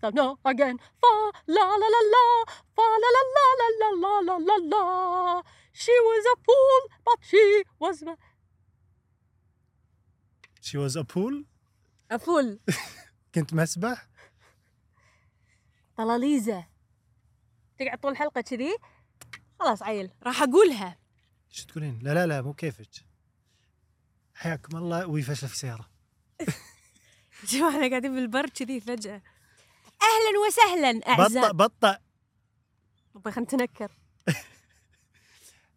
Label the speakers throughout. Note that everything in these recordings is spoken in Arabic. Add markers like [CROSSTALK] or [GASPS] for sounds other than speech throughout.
Speaker 1: Fa no again. Fa la la la la. Fa la la la la la la la la la. She was a fool, but she was a-
Speaker 2: شي واز ا بول
Speaker 1: a fool.
Speaker 2: كنت مسبح
Speaker 1: طلاليزة تقعد طول الحلقة كذي خلاص عيل
Speaker 3: راح اقولها
Speaker 2: شو تقولين لا لا لا مو كيفك حياكم الله وي فشله في سياره
Speaker 3: [LAUGHS] شوف احنا قاعدين بالبر كذي فجأة اهلا وسهلا
Speaker 2: بطأ
Speaker 3: اعزائي
Speaker 2: بطأ
Speaker 1: نبغى خلينا طيب نتنكر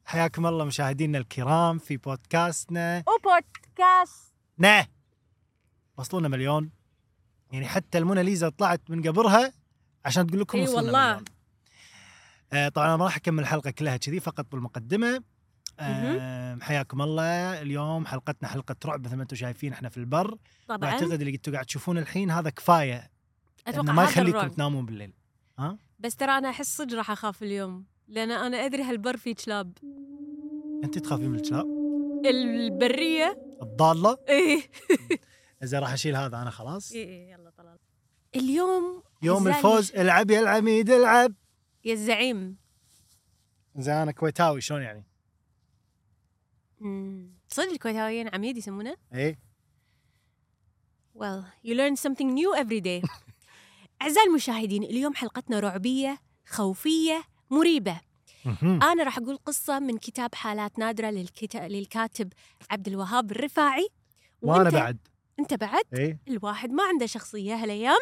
Speaker 2: حياكم الله مشاهدينا الكرام في بودكاستنا
Speaker 1: وبودكاست
Speaker 2: نه وصلونا مليون يعني حتى الموناليزا طلعت من قبرها عشان تقول لكم
Speaker 3: إي
Speaker 2: وصلنا
Speaker 3: والله.
Speaker 2: مليون آه طبعا انا ما راح اكمل الحلقه كلها كذي فقط بالمقدمه آه حياكم الله اليوم حلقتنا حلقه رعب مثل ما انتم شايفين احنا في البر
Speaker 3: طبعا
Speaker 2: واعتقد اللي انتم قاعد تشوفون الحين هذا كفايه انه
Speaker 3: اتوقع
Speaker 2: ما
Speaker 3: هذا
Speaker 2: يخليكم
Speaker 3: الرعب
Speaker 2: تنامون بالليل
Speaker 3: بس ترى انا احس صدق راح اخاف اليوم لان انا ادري هالبر فيه كلاب
Speaker 2: انت تخافين من الكلاب
Speaker 3: [LAUGHS] البريه
Speaker 2: الضاله
Speaker 3: ايه
Speaker 2: زين راح اشيل هذا انا خلاص
Speaker 3: ايه يلا طلال اليوم
Speaker 2: يوم
Speaker 3: زين.
Speaker 2: الفوز العب يا العميد العب
Speaker 3: يا الزعيم
Speaker 2: زين انا كويتاوي شلون يعني؟
Speaker 3: مم. صدق الكويتاويين عميد يسمونه
Speaker 2: ايه
Speaker 3: Well, you learn something new every day. [LAUGHS] أعزائي المشاهدين، اليوم حلقتنا رعبية، خوفية، مريبة.
Speaker 2: مهم.
Speaker 3: أنا راح أقول قصة من كتاب حالات نادرة للكتا... للكاتب عبد الوهاب الرفاعي.
Speaker 2: وانا
Speaker 3: وأنت-
Speaker 2: بعد
Speaker 3: أنت بعد؟
Speaker 2: ايه [LAUGHS]
Speaker 3: الواحد ما عنده شخصية هالأيام.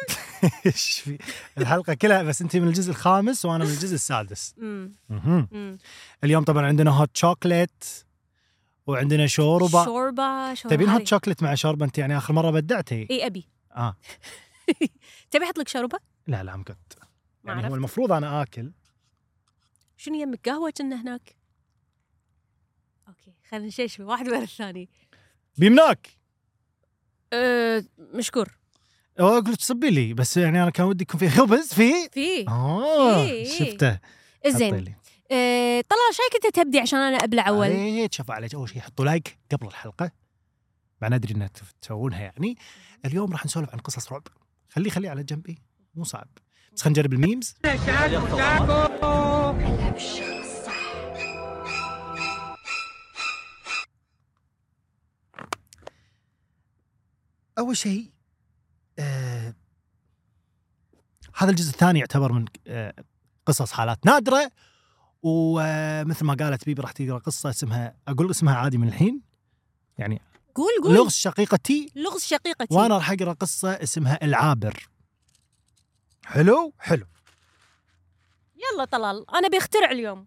Speaker 2: ايش في؟ الحلقه كلها بس انت من الجزء الخامس وانا من الجزء السادس
Speaker 3: مم.
Speaker 2: مهم.
Speaker 3: مم.
Speaker 2: اليوم طبعا عندنا هوت شوكليت وعندنا شوربه
Speaker 3: شوربة، شوربة.
Speaker 2: تبين
Speaker 3: هذه.
Speaker 2: هوت شوكليت مع شوربه انت يعني اخر مره بدعتي
Speaker 3: إي أبي.
Speaker 2: اه
Speaker 3: تبي أحط لك شوربة؟
Speaker 2: لا لا مقط
Speaker 3: ما
Speaker 2: يعني هو
Speaker 3: أعرف.
Speaker 2: المفروض انا اكل
Speaker 3: شنو يمك قهوة كنا هناك؟ أوكي، خلينا نشيش واحد ورا الثاني.
Speaker 2: بيمناك
Speaker 3: أه مشكور.
Speaker 2: أو اقول لك تصبي لي بس يعني انا كان ودي يكون في خبز في
Speaker 3: في
Speaker 2: اه
Speaker 3: إيه، إيه.
Speaker 2: شفته
Speaker 3: زين. إيه، طلال شايك انت تبدي عشان انا ابلع اول
Speaker 2: ايه شوف عليك اول شيء حطوا لايك قبل الحلقه مع ندري انها تف- تسوونها يعني اليوم راح نسولف عن قصص رعب خليه خليه على جنبي مو صعب بس خلينا نجرب الميمز اول شيء آه هذا الجزء الثاني يعتبر من آه قصص حالات نادره ومثل ما قالت بيبي راح تقرا قصه اسمها اقول اسمها عادي من الحين يعني
Speaker 3: قول قول
Speaker 2: لغز شقيقتي
Speaker 3: لغز شقيقتي
Speaker 2: وانا راح اقرا قصه اسمها العابر حلو حلو
Speaker 3: يلا طلال انا بخترع اليوم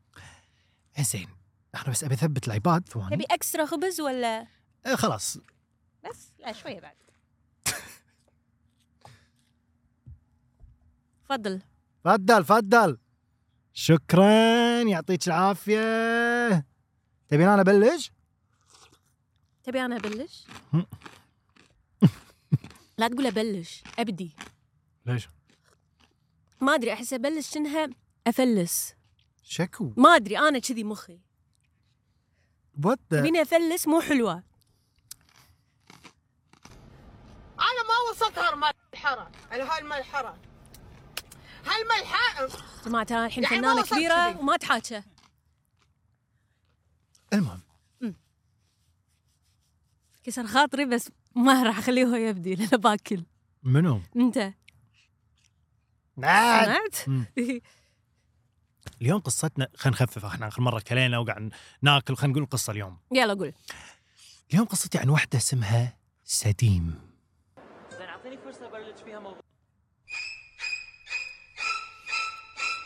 Speaker 2: زين انا بس ابي اثبت الايباد ثواني
Speaker 3: تبي اكسترا خبز ولا
Speaker 2: آه خلاص
Speaker 3: بس لا شويه بعد تفضل
Speaker 2: فدل فدل شكرا يعطيك العافيه تبين انا ابلش؟
Speaker 3: تبي انا ابلش لا تقول ابلش ابدي
Speaker 2: ليش؟
Speaker 3: ما ادري احس ابلش شنها افلس
Speaker 2: شكو
Speaker 3: ما ادري انا كذي مخي
Speaker 2: وات
Speaker 3: تبيني افلس مو حلوه
Speaker 4: انا ما وصلت هالمرحله على هالمرحله هالمرحله
Speaker 3: جماعه انا الحين
Speaker 4: يعني ما
Speaker 3: فنانه
Speaker 4: وصلت
Speaker 3: كبيره
Speaker 4: كذي.
Speaker 3: وما اتحاكى
Speaker 2: المهم
Speaker 3: كسر خاطري بس ما راح اخليه هو يبدي لانه باكل
Speaker 2: منو؟
Speaker 3: انت
Speaker 2: بعد
Speaker 3: سمعت؟
Speaker 2: مم. نعم. اليوم قصتنا خلينا نخفف احنا اخر مره كلينا وقاعد ناكل خلينا نقول القصه اليوم
Speaker 3: [LAUGHS] يلا قول
Speaker 2: اليوم قصتي عن واحدة اسمها سديم
Speaker 5: زين اعطيني فرصه ابلش فيها موضوع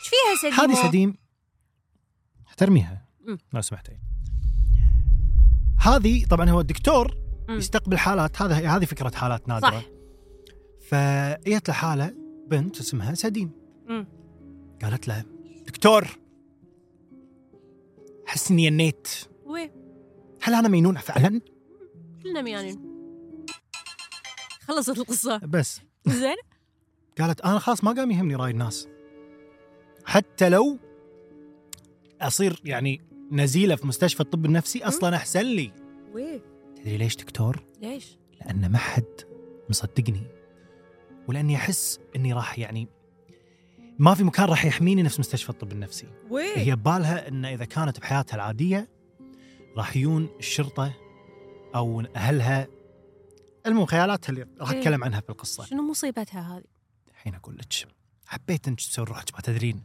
Speaker 3: ايش فيها سديمو؟
Speaker 2: هذه سديم احترميها
Speaker 3: مم.
Speaker 2: لو سمحتي هذه طبعا هو الدكتور
Speaker 3: مم.
Speaker 2: يستقبل حالات هذا هذه فكرة حالات نادرة
Speaker 3: صح.
Speaker 2: فجت له حالة بنت اسمها سديم
Speaker 3: مم.
Speaker 2: قالت له دكتور احس اني انيت
Speaker 3: وي
Speaker 2: هل انا مينونة فعلا؟
Speaker 3: كلنا ميانين خلصت القصة
Speaker 2: بس
Speaker 3: زين
Speaker 2: قالت انا خلاص ما قام يهمني راي الناس حتى لو اصير يعني نزيله في مستشفى الطب النفسي اصلا احسن لي
Speaker 3: وي
Speaker 2: تدري ليش دكتور
Speaker 3: ليش؟
Speaker 2: لان ما حد مصدقني ولاني احس اني راح يعني ما في مكان راح يحميني نفس مستشفى الطب النفسي
Speaker 3: وين
Speaker 2: هي ببالها ان اذا كانت بحياتها العاديه راح يجون الشرطه او اهلها المهم خيالاتها اللي راح
Speaker 3: إيه.
Speaker 2: اتكلم عنها في القصه
Speaker 3: شنو مصيبتها هذه؟
Speaker 2: الحين اقول لك حبيت انك تسوي روحك ما تدرين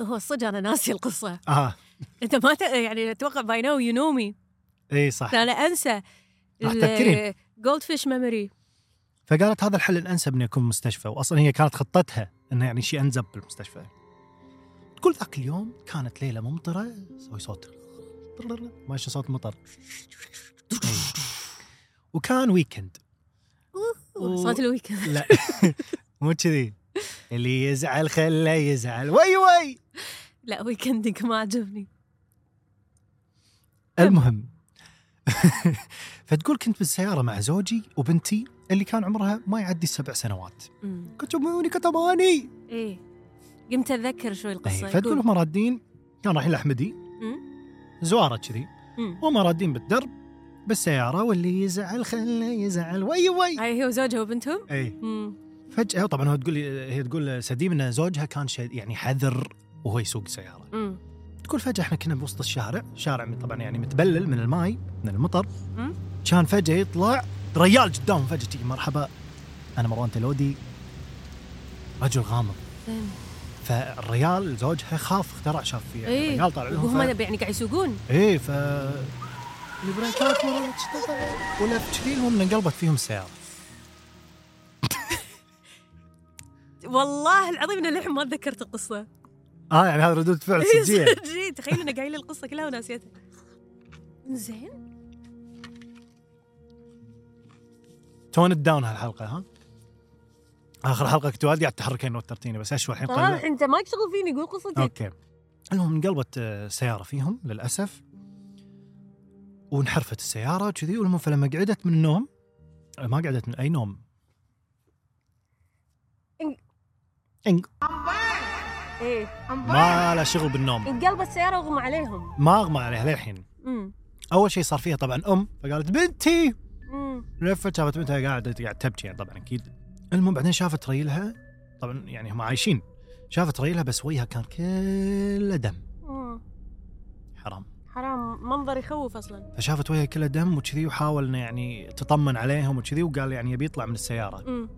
Speaker 3: هو صدق انا ناسي القصه
Speaker 2: اه
Speaker 3: انت ما ت... يعني اتوقع باي نو يو نو مي
Speaker 2: اي إيه صح
Speaker 3: انا انسى
Speaker 2: راح تذكرين.
Speaker 3: جولد فيش ميموري
Speaker 2: فقالت هذا الحل الانسب انه يكون مستشفى واصلا هي كانت خطتها انه يعني شيء انزب بالمستشفى تقول ذاك اليوم كانت ليله ممطره سوي صوت ماشي صوت مطر إيه. وكان ويكند أوه.
Speaker 3: صوت الويكند
Speaker 2: لا [LAUGHS] مو كذي اللي يزعل خله يزعل وي وي
Speaker 3: لا ويكندك [LAUGHS] ما عجبني
Speaker 2: المهم [LAUGHS] فتقول كنت بالسياره مع زوجي وبنتي اللي كان عمرها ما يعدي سبع سنوات
Speaker 3: أمم.
Speaker 2: كنت اموني كنت اماني
Speaker 3: ايه قمت اتذكر شوي القصه
Speaker 2: إيه، فتقول هم رادين كان رايحين الاحمدي
Speaker 3: أمم.
Speaker 2: زواره كذي
Speaker 3: أمم.
Speaker 2: هم رادين بالدرب بالسياره واللي يزعل خله يزعل وي وي
Speaker 3: هاي هي وزوجها وبنتهم
Speaker 2: اي
Speaker 3: أمم.
Speaker 2: فجاه طبعا هو تقول هي تقول سديم ان زوجها كان شد- يعني حذر وهو يسوق سياره
Speaker 3: أمم.
Speaker 2: تقول فجأة احنا كنا بوسط الشارع، شارع طبعا يعني متبلل من الماي من المطر.
Speaker 3: مم.
Speaker 2: كان فجأة يطلع ريال قدامهم فجأة تجي مرحبا انا مروان تلودي رجل غامض
Speaker 3: زين.
Speaker 2: فالريال زوجها خاف اخترع شاف فيه يعني
Speaker 3: إيه.
Speaker 2: الريال طالع
Speaker 3: وهم
Speaker 2: لهم ف...
Speaker 3: يعني قاعد يسوقون
Speaker 2: ايه ف البريكات مرة ولف كذي المهم انقلبت فيهم السيارة.
Speaker 3: والله العظيم انا للحين ما تذكرت
Speaker 2: [LAUGHS]
Speaker 3: القصه
Speaker 2: اه يعني هذا ردود فعل
Speaker 3: إيه،
Speaker 2: صجية.
Speaker 3: [LAUGHS] جي تخيل انا قايله القصه كلها وناسيتها زين
Speaker 2: تون داون هالحلقة ها؟ اخر حلقة كنت وايد قاعد تحركين وترتيني بس اشوى الحين قلة.
Speaker 3: طبعا انت ما تشتغل فيني قول قصتك
Speaker 2: اوكي المهم انقلبت آه، سياره فيهم للاسف وانحرفت السياره كذي والمهم فلما قعدت من النوم آه، ما قعدت من اي نوم
Speaker 1: إن-
Speaker 2: إن-
Speaker 3: ايه
Speaker 2: ما لا شغل بالنوم
Speaker 3: انقلبت السياره وغمى عليهم
Speaker 2: ما اغمى عليها للحين
Speaker 3: امم
Speaker 2: اول شيء صار فيها طبعا ام فقالت بنتي
Speaker 3: امم
Speaker 2: لفت شافت بنتها قاعده قاعد تبكي يعني طبعا اكيد المهم بعدين شافت ريلها طبعا يعني هم عايشين شافت ريلها بس وجهها كان كله دم
Speaker 3: أمم.
Speaker 2: حرام
Speaker 3: حرام منظر يخوف اصلا
Speaker 2: فشافت وجهه كله دم وكذي وحاول انه يعني تطمن عليهم وكذي وقال يعني يبي يطلع من السياره
Speaker 3: امم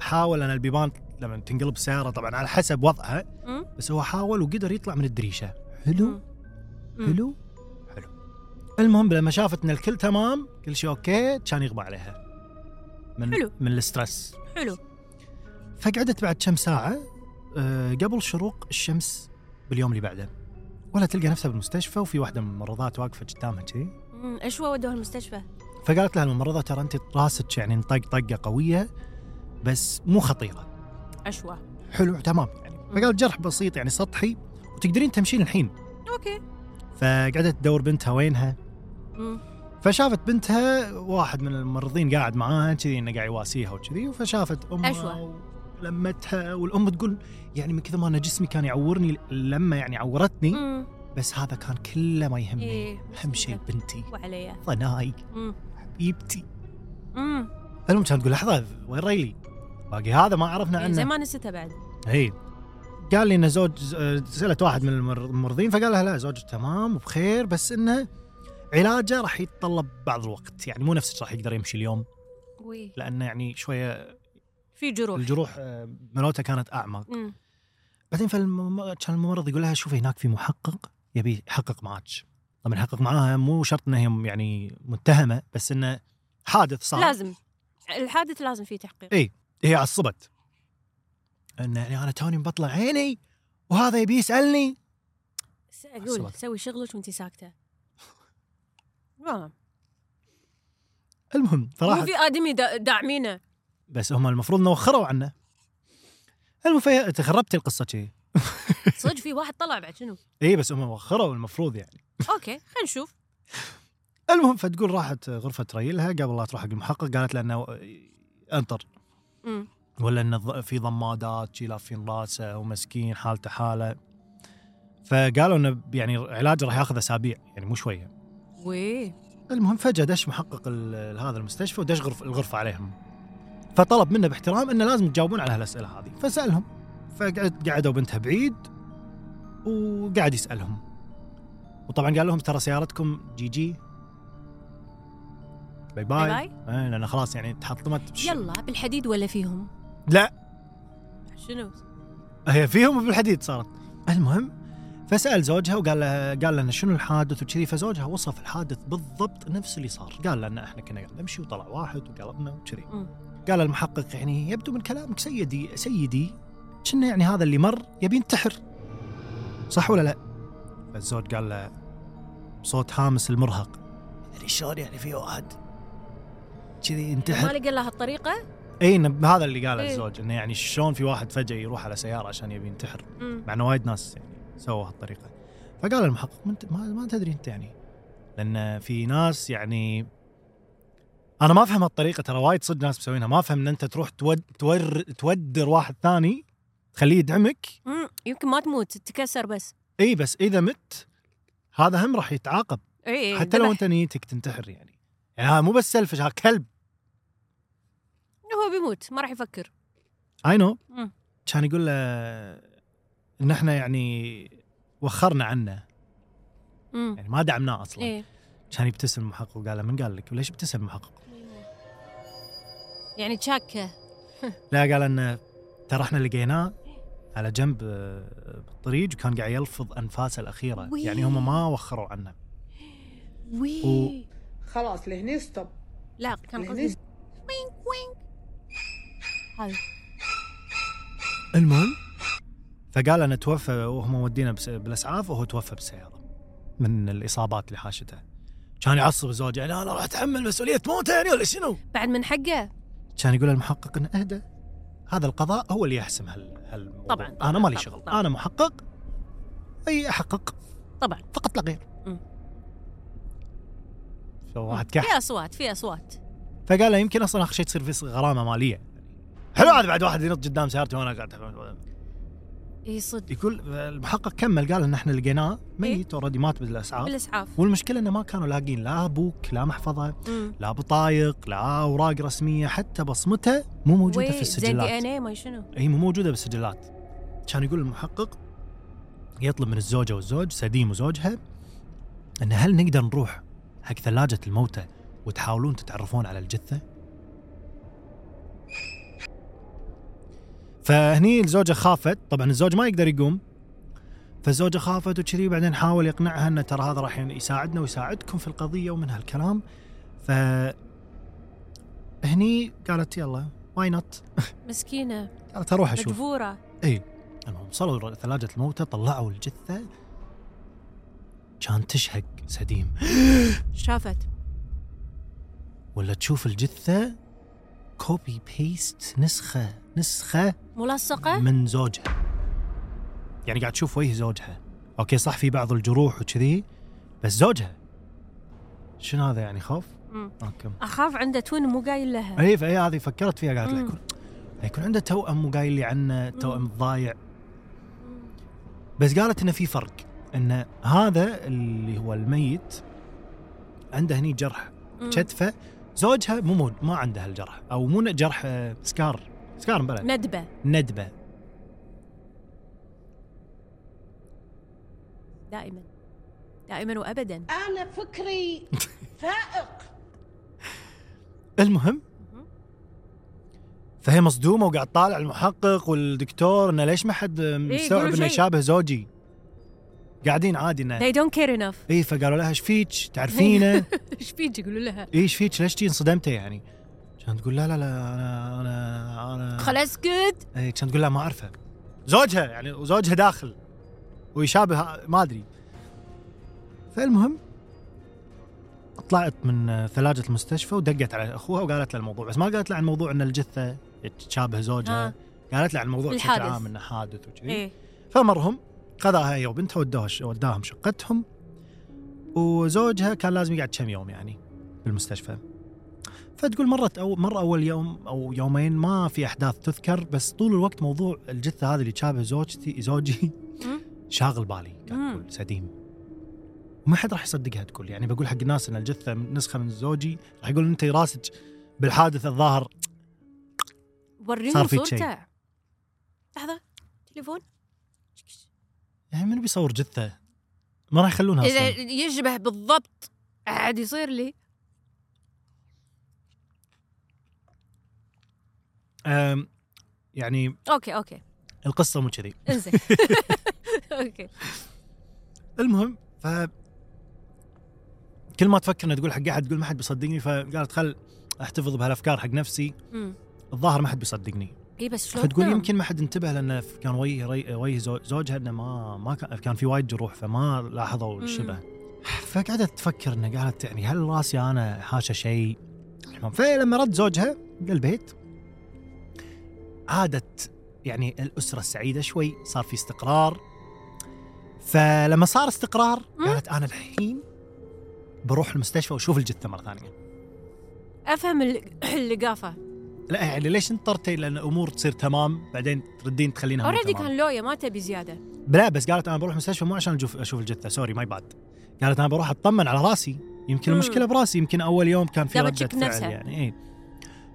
Speaker 2: حاول ان البيبان لما تنقلب السياره طبعا على حسب وضعها
Speaker 3: أمم.
Speaker 2: بس هو حاول وقدر يطلع من الدريشه حلو
Speaker 3: مم.
Speaker 2: حلو حلو المهم لما شافت ان الكل تمام كل شيء اوكي كان يغمى عليها من
Speaker 3: حلو.
Speaker 2: من الاسترس
Speaker 3: حلو
Speaker 2: فقعدت بعد كم ساعه آه، قبل شروق الشمس باليوم اللي بعده ولا تلقى نفسها بالمستشفى وفي واحده من الممرضات واقفه قدامها كذي
Speaker 3: أمم. اشوى ودوها المستشفى
Speaker 2: فقالت لها الممرضه ترى انت راسك يعني انطق طقه قويه بس مو خطيره
Speaker 3: اشوى
Speaker 2: حلو تمام يعني فقالت جرح بسيط يعني سطحي وتقدرين تمشين الحين
Speaker 3: اوكي
Speaker 2: فقعدت تدور بنتها وينها
Speaker 3: امم
Speaker 2: فشافت بنتها واحد من الممرضين قاعد معاها كذي انه قاعد يواسيها وكذي فشافت امها
Speaker 3: أشوى.
Speaker 2: لمتها والام تقول يعني من كثر ما انا جسمي كان يعورني اللمه يعني عورتني
Speaker 3: أمم.
Speaker 2: بس هذا كان كله ما يهمني
Speaker 3: ايه
Speaker 2: اهم شيء بنتي
Speaker 3: وعليا
Speaker 2: ضناي
Speaker 3: امم
Speaker 2: حبيبتي
Speaker 3: امم
Speaker 2: المهم كان تقول لحظه وين ريلي؟ باقي هذا ما عرفنا
Speaker 3: يعني زي
Speaker 2: عنه
Speaker 3: ما نسيتها بعد
Speaker 2: اي قال لي انه زوج ز- سالت واحد من المر- الممرضين فقال لها لا زوجك تمام وبخير بس انه علاجه راح يتطلب بعض الوقت يعني مو نفسك راح يقدر يمشي اليوم
Speaker 3: وي
Speaker 2: لانه يعني شويه
Speaker 3: في جروح
Speaker 2: الجروح آه، ملوته كانت اعمق
Speaker 3: امم
Speaker 2: بعدين فالم- كان الممرض يقول لها شوفي هناك في محقق يبي يحقق معك طبعا يحقق معاها مو شرط انها هي يعني متهمه بس انه حادث صار
Speaker 3: لازم الحادث لازم فيه تحقيق
Speaker 2: إيه. هي عصبت انه يعني انا توني مبطله عيني وهذا يبي يسالني
Speaker 3: س- اقول
Speaker 2: عصبت.
Speaker 3: سوي شغلك وانت ساكته والله
Speaker 2: المهم
Speaker 3: مو
Speaker 2: فراحت
Speaker 3: في ادمي دا-
Speaker 2: [LAUGHS]
Speaker 3: داعمينه
Speaker 2: بس هم المفروض انه وخروا عنه المهم فهي- تخربت القصه شي
Speaker 3: صدق في واحد طلع بعد شنو
Speaker 2: اي بس هم وخروا المفروض يعني
Speaker 3: اوكي خلينا نشوف
Speaker 2: المهم فتقول راحت غرفه ريلها قبل لا تروح حق المحقق قالت له انه انطر
Speaker 3: امم
Speaker 2: ولا انه ض- في ضمادات شي لافين راسه ومسكين حالته حاله فقالوا انه يعني علاجه راح ياخذ اسابيع يعني مو شويه
Speaker 3: وي
Speaker 2: المهم فجأة دش محقق ال- هذا المستشفى ودش غرف الغرفة عليهم فطلب منه باحترام انه لازم تجاوبون على هالاسئله هذه فسالهم فقعدوا بنتها بعيد وقاعد يسالهم وطبعا قال لهم ترى سيارتكم جي جي باي باي,
Speaker 3: باي
Speaker 2: باي.
Speaker 3: باي
Speaker 2: لان خلاص يعني تحطمت بش-
Speaker 3: يلا بالحديد ولا فيهم
Speaker 2: لا
Speaker 3: شنو
Speaker 2: هي فيهم وبالحديد صارت المهم فسال زوجها وقال له قال لنا شنو الحادث وكذي فزوجها وصف الحادث بالضبط نفس اللي صار قال لنا احنا كنا قاعد نمشي وطلع واحد وقلبنا وكذي
Speaker 3: مم.
Speaker 2: قال المحقق يعني يبدو من كلامك سيدي سيدي كنا يعني هذا اللي مر يبي ينتحر صح ولا لا فالزوج قال له بصوت هامس المرهق يعني شلون يعني في واحد كذي ينتحر
Speaker 3: ما لقى لها الطريقه
Speaker 2: اي إنه هذا اللي قاله
Speaker 3: إيه.
Speaker 2: الزوج انه يعني شلون في واحد فجاه يروح على سياره عشان يبي ينتحر مع انه وايد ناس يعني سووا هالطريقه فقال المحقق ما انت ما, ما تدري انت يعني لان في ناس يعني انا ما افهم هالطريقه ترى وايد صدق ناس مسوينها ما افهم ان انت تروح تود تور تودر واحد ثاني تخليه يدعمك
Speaker 3: مم. يمكن ما تموت تتكسر بس
Speaker 2: اي بس اذا مت هذا هم راح يتعاقب
Speaker 3: اي
Speaker 2: حتى لو انت نيتك تنتحر يعني يعني هذا مو بس سلفش ها كلب
Speaker 3: هو بيموت ما راح يفكر
Speaker 2: اي نو
Speaker 3: مم.
Speaker 2: كان يقول له ان احنا يعني وخرنا عنه
Speaker 3: مم.
Speaker 2: يعني ما دعمناه اصلا
Speaker 3: ايه
Speaker 2: كان يبتسم المحقق وقال له من قال لك وليش ابتسم المحقق؟
Speaker 3: يعني تشاكه
Speaker 2: لا قال انه ترى احنا لقيناه على جنب آه، بالطريق وكان قاعد يلفظ انفاسه الاخيره
Speaker 3: وي.
Speaker 2: يعني هم ما وخروا عنه
Speaker 3: وي
Speaker 2: و-
Speaker 4: خلاص لهني ستوب
Speaker 3: لا كان
Speaker 4: لهني
Speaker 3: قصدي وينك وينك هاي
Speaker 2: المهم فقال انا توفى وهم مودينا بس- بالاسعاف وهو توفى بالسياره من الاصابات اللي حاشته كان يعصب زوجه يعني انا راح اتحمل مسؤوليه موته يعني ولا شنو؟
Speaker 3: بعد من حقه
Speaker 2: كان يقول المحقق انه اهدى هذا القضاء هو اللي يحسم هال هالموضوع.
Speaker 3: طبعاً،
Speaker 2: انا مالي
Speaker 3: طبعاً،
Speaker 2: شغل
Speaker 3: طبعاً.
Speaker 2: انا محقق اي احقق
Speaker 3: طبعا
Speaker 2: فقط لا غير
Speaker 3: مم.
Speaker 2: فواحد كح
Speaker 3: في اصوات في اصوات
Speaker 2: فقال له يمكن اصلا اخر شيء تصير في غرامه ماليه حلو هذا بعد واحد ينط قدام سيارتي وانا قاعد
Speaker 3: اي صدق
Speaker 2: يقول المحقق كمل قال ان احنا لقيناه ميت اوريدي مات بالاسعاف
Speaker 3: بالاسعاف
Speaker 2: والمشكله انه ما كانوا لاقين لا ابوك لا محفظه
Speaker 3: مم.
Speaker 2: لا بطايق لا اوراق رسميه حتى بصمته مو موجوده
Speaker 3: وي،
Speaker 2: في
Speaker 3: زي دي
Speaker 2: السجلات
Speaker 3: ان اي ما شنو
Speaker 2: هي مو موجوده بالسجلات كان يقول المحقق يطلب من الزوجه والزوج سديم وزوجها ان هل نقدر نروح حق ثلاجه الموتى وتحاولون تتعرفون على الجثه؟ فهني الزوجه خافت طبعا الزوج ما يقدر يقوم فالزوجه خافت وكذي بعدين حاول يقنعها ان ترى هذا راح يساعدنا ويساعدكم في القضيه ومن هالكلام ف هني قالت يلا واي نوت
Speaker 3: مسكينه
Speaker 2: قالت اروح اشوف
Speaker 3: مجبوره
Speaker 2: المهم وصلوا ثلاجة الموتى طلعوا الجثة كان تشهق سديم
Speaker 3: شافت
Speaker 2: ولا تشوف الجثة كوبي بيست نسخة نسخة
Speaker 3: ملصقه
Speaker 2: من زوجها يعني قاعد تشوف وجه زوجها اوكي صح في بعض الجروح وكذي بس زوجها شنو هذا يعني خوف؟
Speaker 3: مم.
Speaker 2: اوكي
Speaker 3: اخاف عنده تون مو قايل لها
Speaker 2: اي إيه، فهي هذه فكرت فيها قالت لا
Speaker 3: إيه. مم.
Speaker 2: يكون يكون عنده توأم وقايل لي عنه توأم ضايع
Speaker 3: مم.
Speaker 2: بس قالت انه في فرق ان هذا اللي هو الميت عنده هني جرح
Speaker 3: مم.
Speaker 2: كتفه زوجها مو مود ما عنده هالجرح او مو جرح آه، سكار سكار بلا
Speaker 3: ندبه
Speaker 2: ندبه
Speaker 3: دائما دائما وابدا
Speaker 4: انا
Speaker 6: [LAUGHS]
Speaker 4: فكري فائق
Speaker 2: المهم
Speaker 3: مهم.
Speaker 2: فهي مصدومه وقاعد طالع المحقق والدكتور انه ليش ما حد آه، مستوعب
Speaker 3: إيه، يقولوا
Speaker 2: انه
Speaker 3: شيء.
Speaker 2: يشابه زوجي قاعدين عادي انه
Speaker 3: they don't care enough [LAUGHS]
Speaker 2: اي إيه، فقالوا لها ايش فيك تعرفينه
Speaker 3: ايش فيك يقولوا لها
Speaker 2: ايش فيك ليش جي انصدمتي يعني كانت تقول لا لا لا انا انا انا
Speaker 3: خل اسكت
Speaker 2: إيه، كانت تقول لا ما اعرفه زوجها يعني وزوجها داخل ويشابه ما ادري فالمهم طلعت من ثلاجة المستشفى ودقت على اخوها وقالت له الموضوع بس ما قالت له عن موضوع ان الجثة تشابه زوجها
Speaker 3: آه.
Speaker 2: قالت له عن الموضوع بشكل
Speaker 3: الحادث.
Speaker 2: عام انه حادث وكذي
Speaker 3: ايه
Speaker 2: فمرهم خذاها هي وبنتها ودوها وداهم شقتهم وزوجها كان لازم يقعد كم يوم يعني بالمستشفى فتقول مرت أو مر اول يوم او يومين ما في احداث تذكر بس طول الوقت موضوع الجثه هذه اللي تشابه زوجتي زوجي
Speaker 3: مم.
Speaker 2: شاغل بالي
Speaker 3: مم.
Speaker 2: قاعد تقول سديم وما حد راح يصدقها تقول يعني بقول حق الناس ان الجثه نسخه من زوجي راح يقول انت راسك بالحادث الظاهر
Speaker 3: وريهم
Speaker 2: صار فيك شيء.
Speaker 3: صورته لحظه تليفون
Speaker 2: يعني من بيصور جثه ما راح يخلونها
Speaker 3: اذا
Speaker 2: اصلا
Speaker 3: يشبه بالضبط عاد يصير لي
Speaker 2: أم، يعني
Speaker 3: اوكي اوكي
Speaker 2: القصه مو كذي
Speaker 3: [LAUGHS] انزين اوكي
Speaker 2: المهم ف كل ما تفكر انها تقول حق احد تقول ما حد بيصدقني فقالت خل احتفظ بهالافكار حق نفسي
Speaker 3: أمم.
Speaker 2: الظاهر ما حد بيصدقني
Speaker 3: اي بس شلون نعم.
Speaker 2: فتقول
Speaker 3: تنام؟
Speaker 2: يمكن ما حد انتبه لانه كان وجه ري- وجه زو- زوجها انه ما ما كان, كان في وايد جروح فما لاحظوا
Speaker 3: مم.
Speaker 2: الشبه فقعدت تفكر انه قالت يعني هل راسي انا حاشه شيء المهم، فلما رد زوجها للبيت عادت يعني الاسره السعيده شوي صار في استقرار فلما صار استقرار
Speaker 3: مم.
Speaker 2: قالت انا الحين بروح المستشفى واشوف الجثه مره ثانيه
Speaker 3: افهم ال- [CLEARS THROAT] اللقافه
Speaker 2: لا يعني ليش انطرتي لان الامور تصير تمام بعدين تردين تخلينها مو
Speaker 3: اوريدي
Speaker 2: نعم، تمام.
Speaker 3: كان لويا ما تبي زياده
Speaker 2: لا بس قالت انا بروح المستشفى مو عشان اشوف اشوف الجثه سوري ماي باد قالت انا بروح اطمن على راسي يمكن
Speaker 3: مم.
Speaker 2: المشكله براسي يمكن اول يوم كان في
Speaker 3: تبى
Speaker 2: رده
Speaker 3: تشك
Speaker 2: فعل
Speaker 3: نفسها.
Speaker 2: يعني اي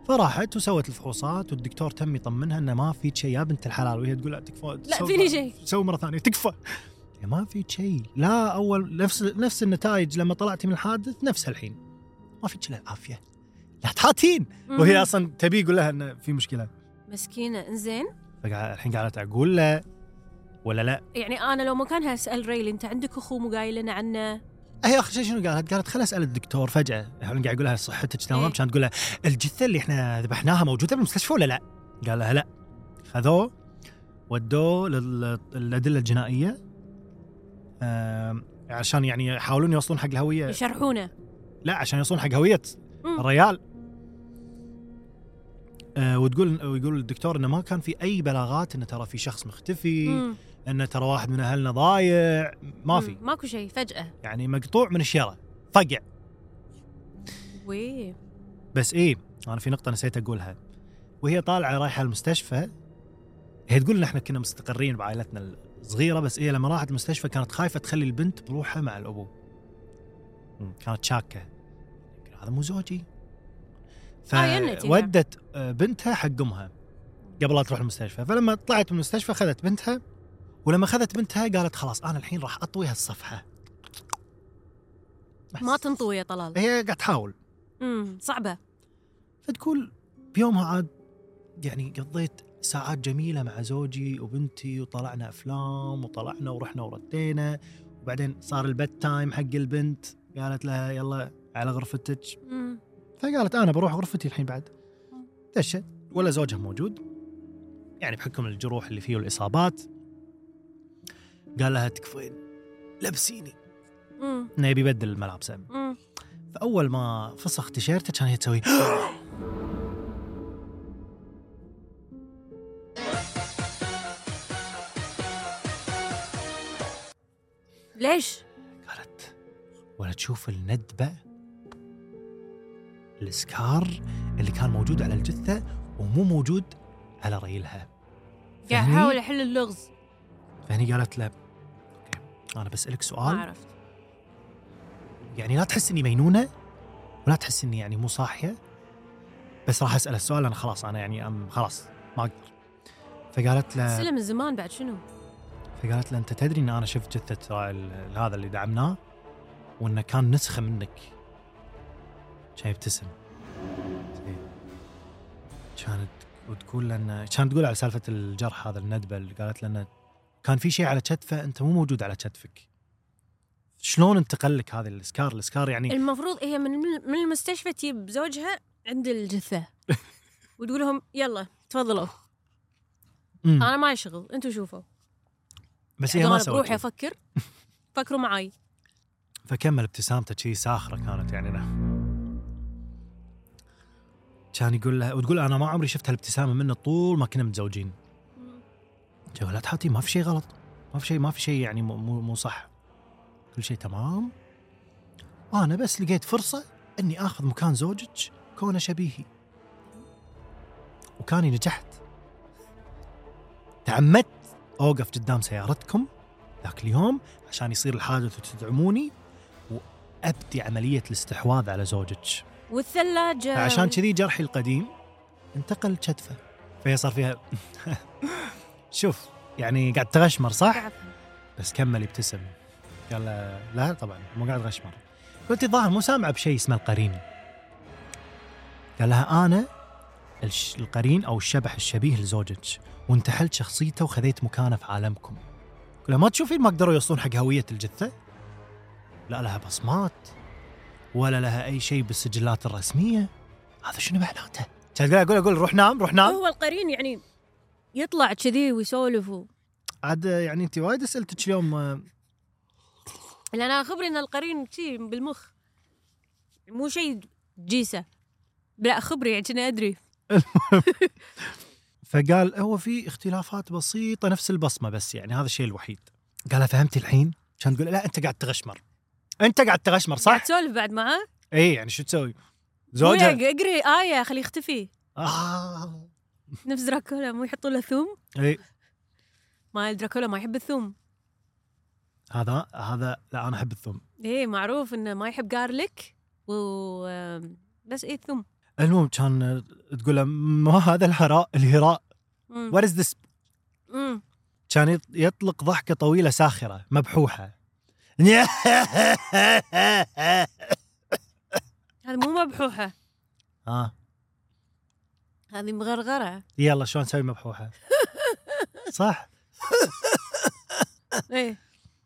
Speaker 2: فراحت وسوت الفحوصات والدكتور تم يطمنها انه ما في شيء يا بنت الحلال وهي تقول لا تكفى
Speaker 3: لا
Speaker 2: سوي-
Speaker 3: فيني شيء
Speaker 2: سوي مره ثانيه تكفى يا ما في شيء لا اول نفس نفس النتائج لما طلعتي من الحادث نفسها الحين ما في الا العافيه لا تحاتين وهي
Speaker 3: أمم.
Speaker 2: اصلا تبي يقول لها انه في مشكله
Speaker 3: مسكينه انزين
Speaker 2: فقع- الحين قالت اقول له ولا لا
Speaker 3: يعني انا لو مكانها اسال ريلي انت عندك اخو مو قايل لنا
Speaker 2: إيه.
Speaker 3: عنه
Speaker 2: هي اخر شيء شنو قالت؟ قالت خل اسال الدكتور فجاه الحين قاعد يقول لها صحتك تمام
Speaker 3: إيه.
Speaker 2: كان تقول له الجثه اللي احنا ذبحناها موجوده بالمستشفى ولا لا؟ قال لها لا خذوه ودوه للادله الجنائيه آم، عشان يعني يحاولون يوصلون حق الهويه
Speaker 3: يشرحونه
Speaker 2: لا عشان يوصلون حق هويه
Speaker 3: مم.
Speaker 2: الريال آه، وتقول ويقول الدكتور انه ما كان في اي بلاغات انه ترى في شخص مختفي
Speaker 3: أمم.
Speaker 2: انه ترى واحد من اهلنا ضايع إيه، ما
Speaker 3: أمم.
Speaker 2: في
Speaker 3: ماكو شيء فجاه
Speaker 2: يعني مقطوع من الشيره فقع
Speaker 3: وي
Speaker 2: بس ايه انا في نقطه نسيت اقولها وهي طالعه رايحه المستشفى هي تقول ان احنا كنا مستقرين بعائلتنا الصغيره بس ايه لما راحت المستشفى كانت خايفه تخلي البنت بروحها مع الابو مم، كانت شاكه يمكن هذا مو زوجي
Speaker 3: آه، ينت يعني.
Speaker 2: فودت آه، بنتها حق امها قبل لا تروح المستشفى فلما طلعت من المستشفى خذت بنتها ولما خذت بنتها قالت خلاص انا الحين راح اطوي هالصفحه بس.
Speaker 3: ما تنطوي يا طلال
Speaker 2: هي قاعده تحاول
Speaker 3: امم صعبه
Speaker 2: فتقول بيومها عاد يعني قضيت ساعات جميلة مع زوجي وبنتي وطلعنا أفلام وطلعنا ورحنا وردينا وبعدين صار البت تايم حق البنت قالت لها يلا على غرفتك
Speaker 3: أمم.
Speaker 2: فقالت أنا بروح غرفتي الحين بعد دشت ولا زوجها موجود يعني بحكم الجروح اللي فيه والإصابات قال لها تكفين لبسيني
Speaker 3: أمم.
Speaker 2: انه يبي يبدل ملابسه
Speaker 3: أمم.
Speaker 2: فاول ما فسخ تيشيرته كان هي تسوي [GASPS]
Speaker 3: ليش
Speaker 2: قالت ولا تشوف الندبة السكار اللي كان موجود على الجثة ومو موجود على ريلها
Speaker 3: قاعد
Speaker 2: فهني-
Speaker 3: احاول احل اللغز
Speaker 2: فهني قالت له أوكي أنا بسألك
Speaker 3: ما
Speaker 2: سؤال
Speaker 3: عرفت
Speaker 2: يعني لا تحس إني مينونة ولا تحس إني يعني مو صاحية بس راح أسأل السؤال أنا خلاص أنا يعني أم خلاص ما أقدر فقالت له
Speaker 3: سلم من زمان بعد شنو
Speaker 2: فقالت له انت تدري ان انا شفت جثه را- ال- هذا اللي دعمناه وانه كان نسخه منك كان يبتسم كانت وتقول له انه كانت تقول على سالفه الجرح هذا الندبه اللي قالت له انه كان في شيء على كتفه انت مو موجود على كتفك شلون انتقل لك هذا السكار السكار يعني
Speaker 3: المفروض هي من من المستشفى تجيب زوجها عند
Speaker 2: [LAUGHS]
Speaker 3: الجثه وتقول لهم يلا تفضلوا
Speaker 2: مم.
Speaker 3: انا ما شغل انتم شوفوا
Speaker 2: بس هي
Speaker 3: انا
Speaker 2: ما
Speaker 3: بروحي
Speaker 2: سوت
Speaker 3: افكر فكروا معاي
Speaker 2: فكمل ابتسامته شي ساخره كانت يعني له كان يقول لها وتقول انا ما عمري شفت هالابتسامه منه طول ما كنا متزوجين جوالات حاتي ما في شيء غلط ما في شيء ما في شيء يعني مو- مو مو صح كل شيء تمام وانا بس لقيت فرصه اني اخذ مكان زوجك كونه شبيهي وكاني نجحت تعمدت اوقف قدام سيارتكم ذاك اليوم عشان يصير الحادث وتدعموني وابدي عمليه الاستحواذ على زوجك
Speaker 3: والثلاجه
Speaker 2: عشان كذي جرحي القديم انتقل لكتفه فهي صار فيها [LAUGHS] شوف يعني قاعد تغشمر صح؟
Speaker 3: قاعد-
Speaker 2: بس كمل يبتسم قال له، لا طبعا مو قاعد غشمر قلت الظاهر مو سامعه بشيء اسمه القرين قال لها انا الش- القرين او الشبح الشبيه لزوجك وانتحلت شخصيته وخذيت مكانه في عالمكم قال لها، ما تشوفين ما قدروا يوصلون حق هويه الجثه؟ لا لها بصمات ولا لها اي شيء بالسجلات الرسميه هذا شنو معناته؟ كان اقول اقول روح نام روح نام
Speaker 3: هو القرين يعني يطلع كذي ويسولف و-
Speaker 2: عاد يعني انت وايد اسئلتك اليوم آه،
Speaker 3: لان انا خبري ان القرين شي بالمخ مو شيء جيسه لا خبري يعني كنا ادري
Speaker 2: فقال هو في اختلافات بسيطه نفس البصمه بس يعني هذا الشيء الوحيد قالها فهمتي الحين كان تقول لا انت قاعد تغشمر انت قاعد تغشمر
Speaker 3: قاعد
Speaker 2: صح
Speaker 3: تسولف بعد معاه
Speaker 2: اي يعني شو تسوي
Speaker 3: نعم. وياك،
Speaker 2: زوجها
Speaker 3: اقري ايه خليه يختفي
Speaker 2: آه.
Speaker 3: نفس دراكولا مو يحطوا له ثوم
Speaker 2: اي
Speaker 3: ما دراكولا ما يحب الثوم
Speaker 2: هذا هذا لا انا احب الثوم
Speaker 3: ايه معروف انه ما يحب جارليك و آم، بس ايه الثوم
Speaker 2: المهم كان آه، تقول له ما هذا الهراء الهراء
Speaker 3: مم.
Speaker 2: وات ذس
Speaker 3: مم.
Speaker 2: كان يط- يطلق ضحكه طويله ساخره [LAUGHS] مبحوحه
Speaker 3: هذا مو مبحوحه
Speaker 2: اه
Speaker 3: هذه [LAUGHS] مغرغره
Speaker 2: يلا شلون نسوي مبحوحه صح
Speaker 3: ايه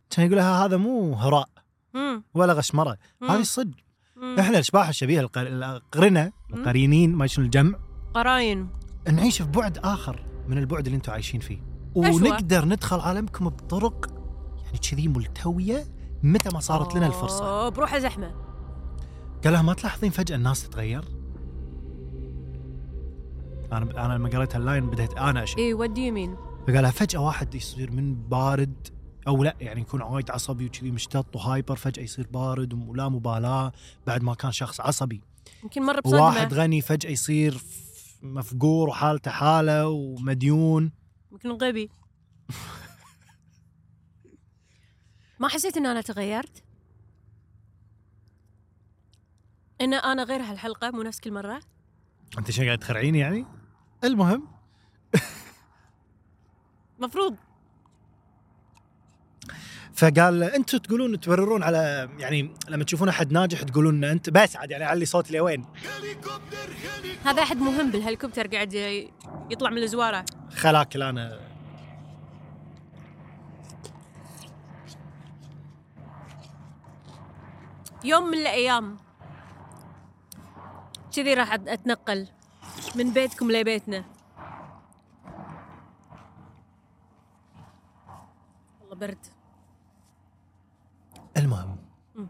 Speaker 2: كان يقول لها هذا مو هراء
Speaker 3: مم.
Speaker 2: ولا غشمره
Speaker 3: مم.
Speaker 2: هذه الصدق
Speaker 3: مم.
Speaker 2: احنا الاشباح الشبيه القر- القرنه
Speaker 3: مم.
Speaker 2: القرينين ما شنو الجمع
Speaker 3: قراين
Speaker 2: نعيش في بعد اخر من البعد اللي انتم عايشين فيه
Speaker 3: أشوى.
Speaker 2: ونقدر ندخل عالمكم بطرق يعني كذي ملتويه متى ما صارت لنا الفرصه
Speaker 3: أوه، بروحه زحمه
Speaker 2: قال لها ما تلاحظين فجاه الناس تتغير انا انا لما قريت اللاين بديت انا اشك
Speaker 3: ايه ودي يمين
Speaker 2: فقالها فجأة واحد يصير من بارد أو لا يعني يكون وايد عصبي وكذي مشتط وهايبر فجأة يصير بارد ولا مبالاة بعد ما كان شخص عصبي
Speaker 3: يمكن مر
Speaker 2: واحد
Speaker 3: بصدمه
Speaker 2: غني فجأة يصير ف- مفقور وحالته حالة ومديون
Speaker 3: يمكن
Speaker 2: [LAUGHS]
Speaker 3: غبي ما حسيت ان انا تغيرت ان انا غير هالحلقه مو نفس كل مره
Speaker 2: أنت شو قاعد تخرعيني يعني؟ المهم
Speaker 3: مفروض
Speaker 2: فقال أنتم تقولون تبررون على يعني لما تشوفون أحد ناجح تقولون أنت بس عاد يعني علي صوتي لوين؟
Speaker 3: هذا احد مهم بالهليكوبتر قاعد ي- يطلع من الزواره
Speaker 2: خلاك أنا
Speaker 3: يوم من الايام كذي راح أت- اتنقل من بيتكم لبيتنا والله برد
Speaker 2: المهم
Speaker 3: مم.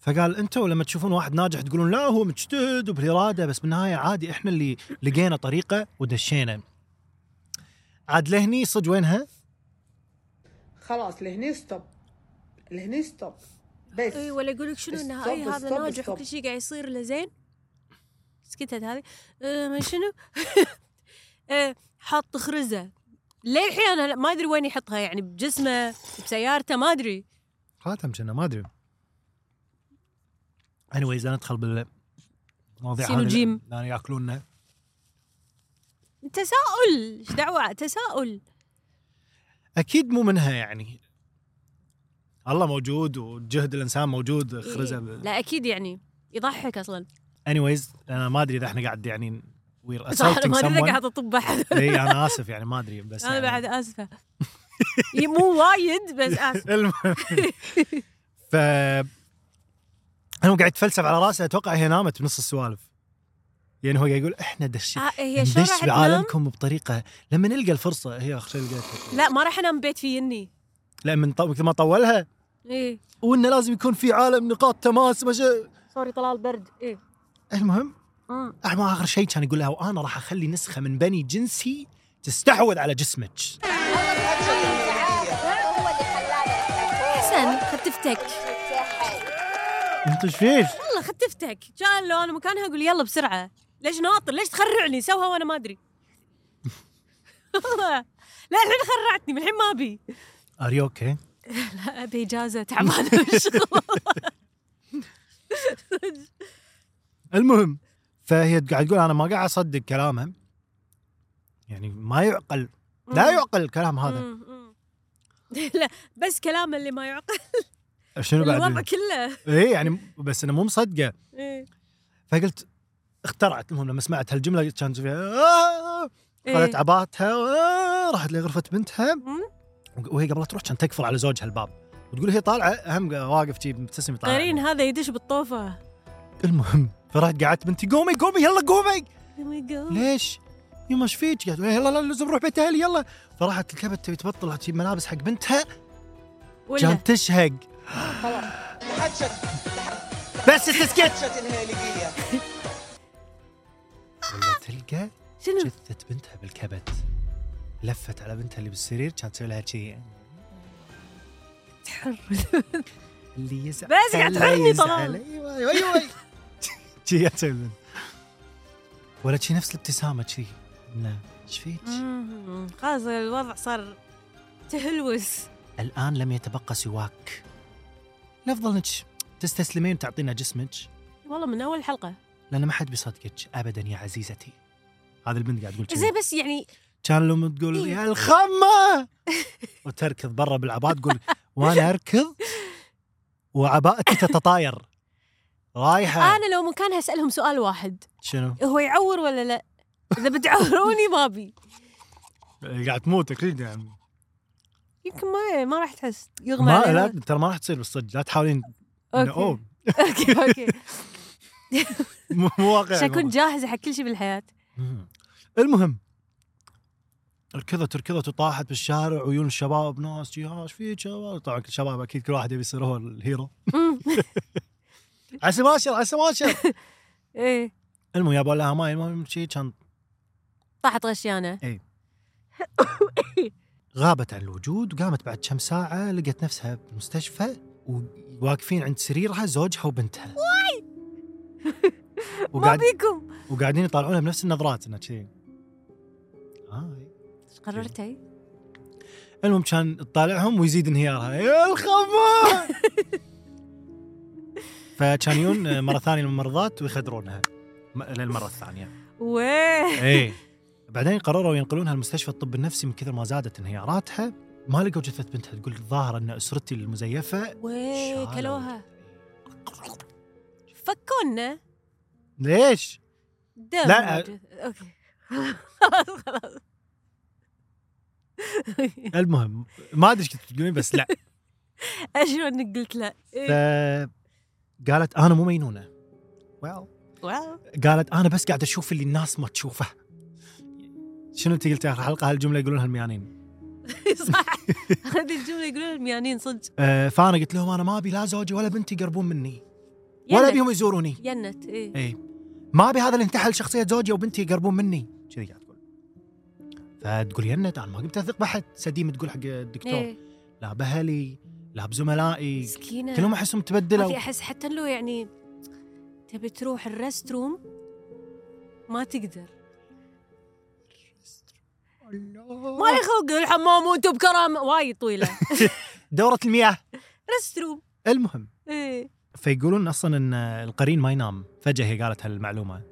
Speaker 2: فقال انتم لما تشوفون واحد ناجح تقولون لا هو مجتهد وبالاراده بس بالنهايه عادي احنا اللي لقينا طريقه ودشينا عاد لهني صدق وينها؟
Speaker 6: خلاص لهني ستوب لهني ستوب بس
Speaker 3: اي ولا يقول لك شنو انه
Speaker 6: استوب،
Speaker 3: اي هذا
Speaker 6: استوب،
Speaker 3: ناجح
Speaker 6: استوب.
Speaker 3: وكل شيء قاعد يصير له زين سكتت هذه أه ما شنو [LAUGHS] أه حاط خرزه ليه الحين أنا ما ادري وين يحطها يعني بجسمه بسيارته ما ادري
Speaker 2: خاتم كنا ما ادري anyways انا ادخل بال مواضيع
Speaker 3: سين وجيم.
Speaker 2: لان ياكلونا
Speaker 3: تساؤل ايش دعوه تساؤل
Speaker 2: اكيد مو منها يعني الله موجود وجهد الانسان موجود خرزه ب-
Speaker 3: لا اكيد يعني يضحك اصلا
Speaker 2: anyways انا ما ادري اذا احنا قاعد يعني we're
Speaker 3: صح
Speaker 2: assaulting
Speaker 3: ما ادري إذا
Speaker 2: someone
Speaker 3: قاعد اطب
Speaker 2: [LAUGHS]
Speaker 3: احد
Speaker 2: اي انا اسف يعني ما ادري بس
Speaker 3: انا
Speaker 2: يعني
Speaker 3: بعد اسفه ي- مو وايد بس
Speaker 2: [LAUGHS]
Speaker 3: اسف
Speaker 2: المهم ف هو قاعد يتفلسف على راسه اتوقع هي نامت بنص السوالف يعني هو قاعد يقول احنا دش
Speaker 3: آه، هي شو
Speaker 2: ندش
Speaker 3: راح تنام؟
Speaker 2: بعالمكم بطريقه لما نلقى الفرصه هي اخر شيء لقيتها
Speaker 3: لا ما راح انام بيت في يني
Speaker 2: لا من طو... مثل ما طولها
Speaker 3: ايه
Speaker 2: وانه لازم يكون في عالم نقاط تماس مش...
Speaker 3: سوري طلال برد آه. ايه
Speaker 2: المهم
Speaker 3: مم.
Speaker 2: احمد اخر شيء كان يقول لها وانا راح اخلي نسخه من بني جنسي تستحوذ على جسمك
Speaker 3: حسن خطفتك
Speaker 2: انت ايش فيك؟
Speaker 3: والله خطفتك كان لو انا مكانها اقول يلا بسرعه ليش ناطر ليش تخرعني سوها وانا ما ادري والله لا الحين خرعتني من الحين ما ابي
Speaker 2: ار يو اوكي؟
Speaker 3: لا ابي اجازه تعبانه من [LAUGHS] الشغل
Speaker 2: المهم فهي قاعد تقول انا ما قاعد اصدق كلامه يعني ما يعقل [LAUGHS] لا يعقل الكلام هذا
Speaker 3: مم، مم. [LAUGHS] لا بس كلامه اللي ما يعقل [LAUGHS]
Speaker 2: شنو
Speaker 3: الوضع
Speaker 2: بعد
Speaker 3: كله
Speaker 2: اي يعني بس انا مو مصدقه
Speaker 3: إيه.
Speaker 2: فقلت اخترعت المهم لما سمعت هالجمله كان فيها آه، خذت عباتها آه، راحت لغرفه بنتها
Speaker 3: إيه. مم.
Speaker 2: وهي قبل لا تروح كان تقفل على زوجها الباب وتقول هي طالعه هم واقف شي مبتسم يطالع
Speaker 3: قرين هذا يدش بالطوفه
Speaker 2: المهم فرحت قعدت بنتي قومي قومي يلا قومي
Speaker 3: Oh my God.
Speaker 2: ليش؟ يما ايش فيك؟ قالت "إيه، يلا لا لازم نروح بيت اهلي يلا فراحت الكبت تبي تبطل تجيب ملابس حق بنتها
Speaker 3: ولا
Speaker 2: كان تشهق
Speaker 6: خلاص
Speaker 2: بس تسكت ولا تلقى
Speaker 3: شنو
Speaker 2: جثة بنتها بالكبت لفت على بنتها اللي بالسرير كانت تسوي لها شي
Speaker 3: تحر
Speaker 2: [LAUGHS] اللي يزعل
Speaker 3: بس قاعد تحرني
Speaker 2: يزعل.
Speaker 3: طلال.
Speaker 2: ايوه ايوه
Speaker 3: [LAUGHS]
Speaker 2: ايوه شي قاعد تسوي البنت. ولا شي نفس الابتسامة شي لا ايش فيك؟
Speaker 3: مم، خلاص الوضع صار تهلوس
Speaker 2: الآن لم يتبقى سواك الأفضل انك تستسلمين وتعطينا جسمك
Speaker 3: والله من اول حلقه
Speaker 2: لأن ما حد بيصدقك أبدا يا عزيزتي هذا البنت قاعد تقول
Speaker 3: زي
Speaker 2: كذي
Speaker 3: بس يعني
Speaker 2: كان لما تقول
Speaker 3: إيه.
Speaker 2: يا الخمة [LAUGHS] وتركض برا بالعباء تقول وأنا أركض وعباءتي تتطاير رايحة
Speaker 3: انا لو مكانها اسالهم سؤال واحد
Speaker 2: شنو؟
Speaker 3: هو يعور ولا لا اذا بتعوروني ما ابي
Speaker 2: قاعد تموت أكيد يعني
Speaker 3: يمكن ما ما راح تحس يغمى
Speaker 2: ما
Speaker 3: عليها.
Speaker 2: لا ترى ما راح تصير بالصدق لا تحاولين
Speaker 3: [LAUGHS] أوكي.
Speaker 2: أوه
Speaker 3: اوكي
Speaker 2: [LAUGHS]
Speaker 3: اوكي
Speaker 2: مو مو واقعي
Speaker 3: عشان اكون جاهزه حق كل شيء بالحياه
Speaker 2: مم. المهم ركضت ركضت وطاحت بالشارع ويون الشباب ناس جي، ها ايش فيك شباب طبعا كل الشباب اكيد كل واحد يبي يصير هو الهيرو
Speaker 3: مم. [LAUGHS]
Speaker 2: عسى ماشر عسى ماشر
Speaker 3: ايه
Speaker 2: [LAUGHS] المهم يابوا لها ماي المهم شي كان
Speaker 3: طاحت غشيانه
Speaker 2: غابت عن الوجود وقامت بعد كم ساعه لقت نفسها بالمستشفى وواقفين عند سريرها زوجها وبنتها
Speaker 3: ما
Speaker 2: [LAUGHS] وقاعد
Speaker 3: بيكم
Speaker 2: وقاعدين يطالعونها بنفس النظرات انها كذي آه.
Speaker 3: ايش قررتي؟
Speaker 2: المهم كان تطالعهم ويزيد انهيارها يا الخمار فكان يجون مره ثانيه الممرضات ويخدرونها م- للمره الثانيه
Speaker 3: ويه
Speaker 2: اي إيه. بعدين قرروا ينقلونها لمستشفى الطب النفسي من كثر ما زادت انهياراتها ما لقوا جثه بنتها تقول الظاهر ان اسرتي المزيفه
Speaker 3: ويه
Speaker 2: شالوا.
Speaker 3: إيه، كلوها فكونا
Speaker 2: ليش؟
Speaker 3: دم
Speaker 2: لا. آه،
Speaker 3: موجود. اوكي [LAUGHS] خلاص خلاص
Speaker 2: المهم ما ادري ايش كنت تقولين بس لا
Speaker 3: اشوف انك قلت لا إيه.
Speaker 2: فقالت انا مو مجنونه well.
Speaker 3: واو [LAUGHS]
Speaker 2: قالت انا بس قاعد اشوف اللي الناس ما تشوفه شنو انت قلت اخر حلقه هالجمله يقولونها الميانين
Speaker 3: صح هذه الجمله يقولون الميانين صدق
Speaker 2: آه، فانا قلت لهم انا ما ابي لا زوجي ولا بنتي يقربون مني ولا
Speaker 3: ينت
Speaker 2: ابيهم يزوروني
Speaker 3: ينت ايه
Speaker 2: اي ما ابي هذا اللي انتحل شخصيه زوجي وبنتي يقربون مني كذي قاعد تقول فتقول ينت انا ما قمت اثق باحد سديم تقول حق الدكتور
Speaker 3: ايه
Speaker 2: لا باهلي لا بزملائي
Speaker 3: مسكينه
Speaker 2: كلهم احسهم
Speaker 3: ما
Speaker 2: تبدلوا
Speaker 3: في احس حتى لو يعني تبي تروح الريست روم ما تقدر ما لي خلق الحمام وانتم بكرامه وايد طويله
Speaker 2: دوره المياه
Speaker 3: ريست روم
Speaker 2: المهم
Speaker 3: ايه
Speaker 2: فيقولون اصلا ان القرين ما ينام فجاه هي قالت هالمعلومه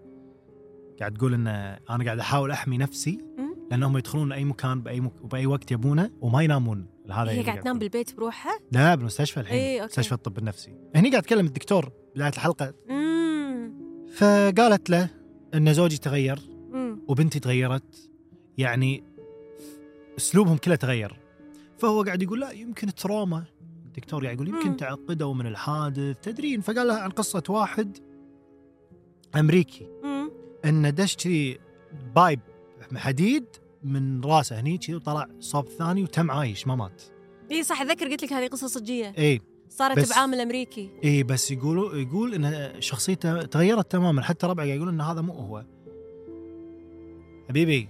Speaker 2: قاعد تقول ان انا قاعد احاول احمي نفسي
Speaker 3: مم.
Speaker 2: لانهم يدخلون اي مكان باي مك... باي وقت يبونه وما ينامون هذا يعني
Speaker 3: هي
Speaker 2: اللي
Speaker 3: قاعد تنام
Speaker 2: تقول.
Speaker 3: بالبيت بروحها
Speaker 2: لا بالمستشفى الحين
Speaker 3: إيه، أوكي.
Speaker 2: مستشفى الطب النفسي هني قاعد اتكلم الدكتور بدايه الحلقه
Speaker 3: امم
Speaker 2: فقالت له ان زوجي تغير
Speaker 3: امم
Speaker 2: وبنتي تغيرت يعني اسلوبهم كله تغير فهو قاعد يقول لا يمكن تروما الدكتور قاعد يقول
Speaker 3: مم.
Speaker 2: يمكن تعقدوا من الحادث تدرين فقال لها عن قصه واحد امريكي
Speaker 3: أمم.
Speaker 2: انه دش كذي بايب حديد من راسه هني كذي وطلع صوب ثاني وتم عايش ما مات إيه.
Speaker 3: اي صح اتذكر قلت لك هذه قصه صجيه
Speaker 2: اي
Speaker 3: صارت
Speaker 2: بس-
Speaker 3: بعامل امريكي
Speaker 2: اي إيه، بس يقولوا يقول ان شخصيته تغيرت تماما حتى ربعه قاعد يقولون ان هذا مو هو حبيبي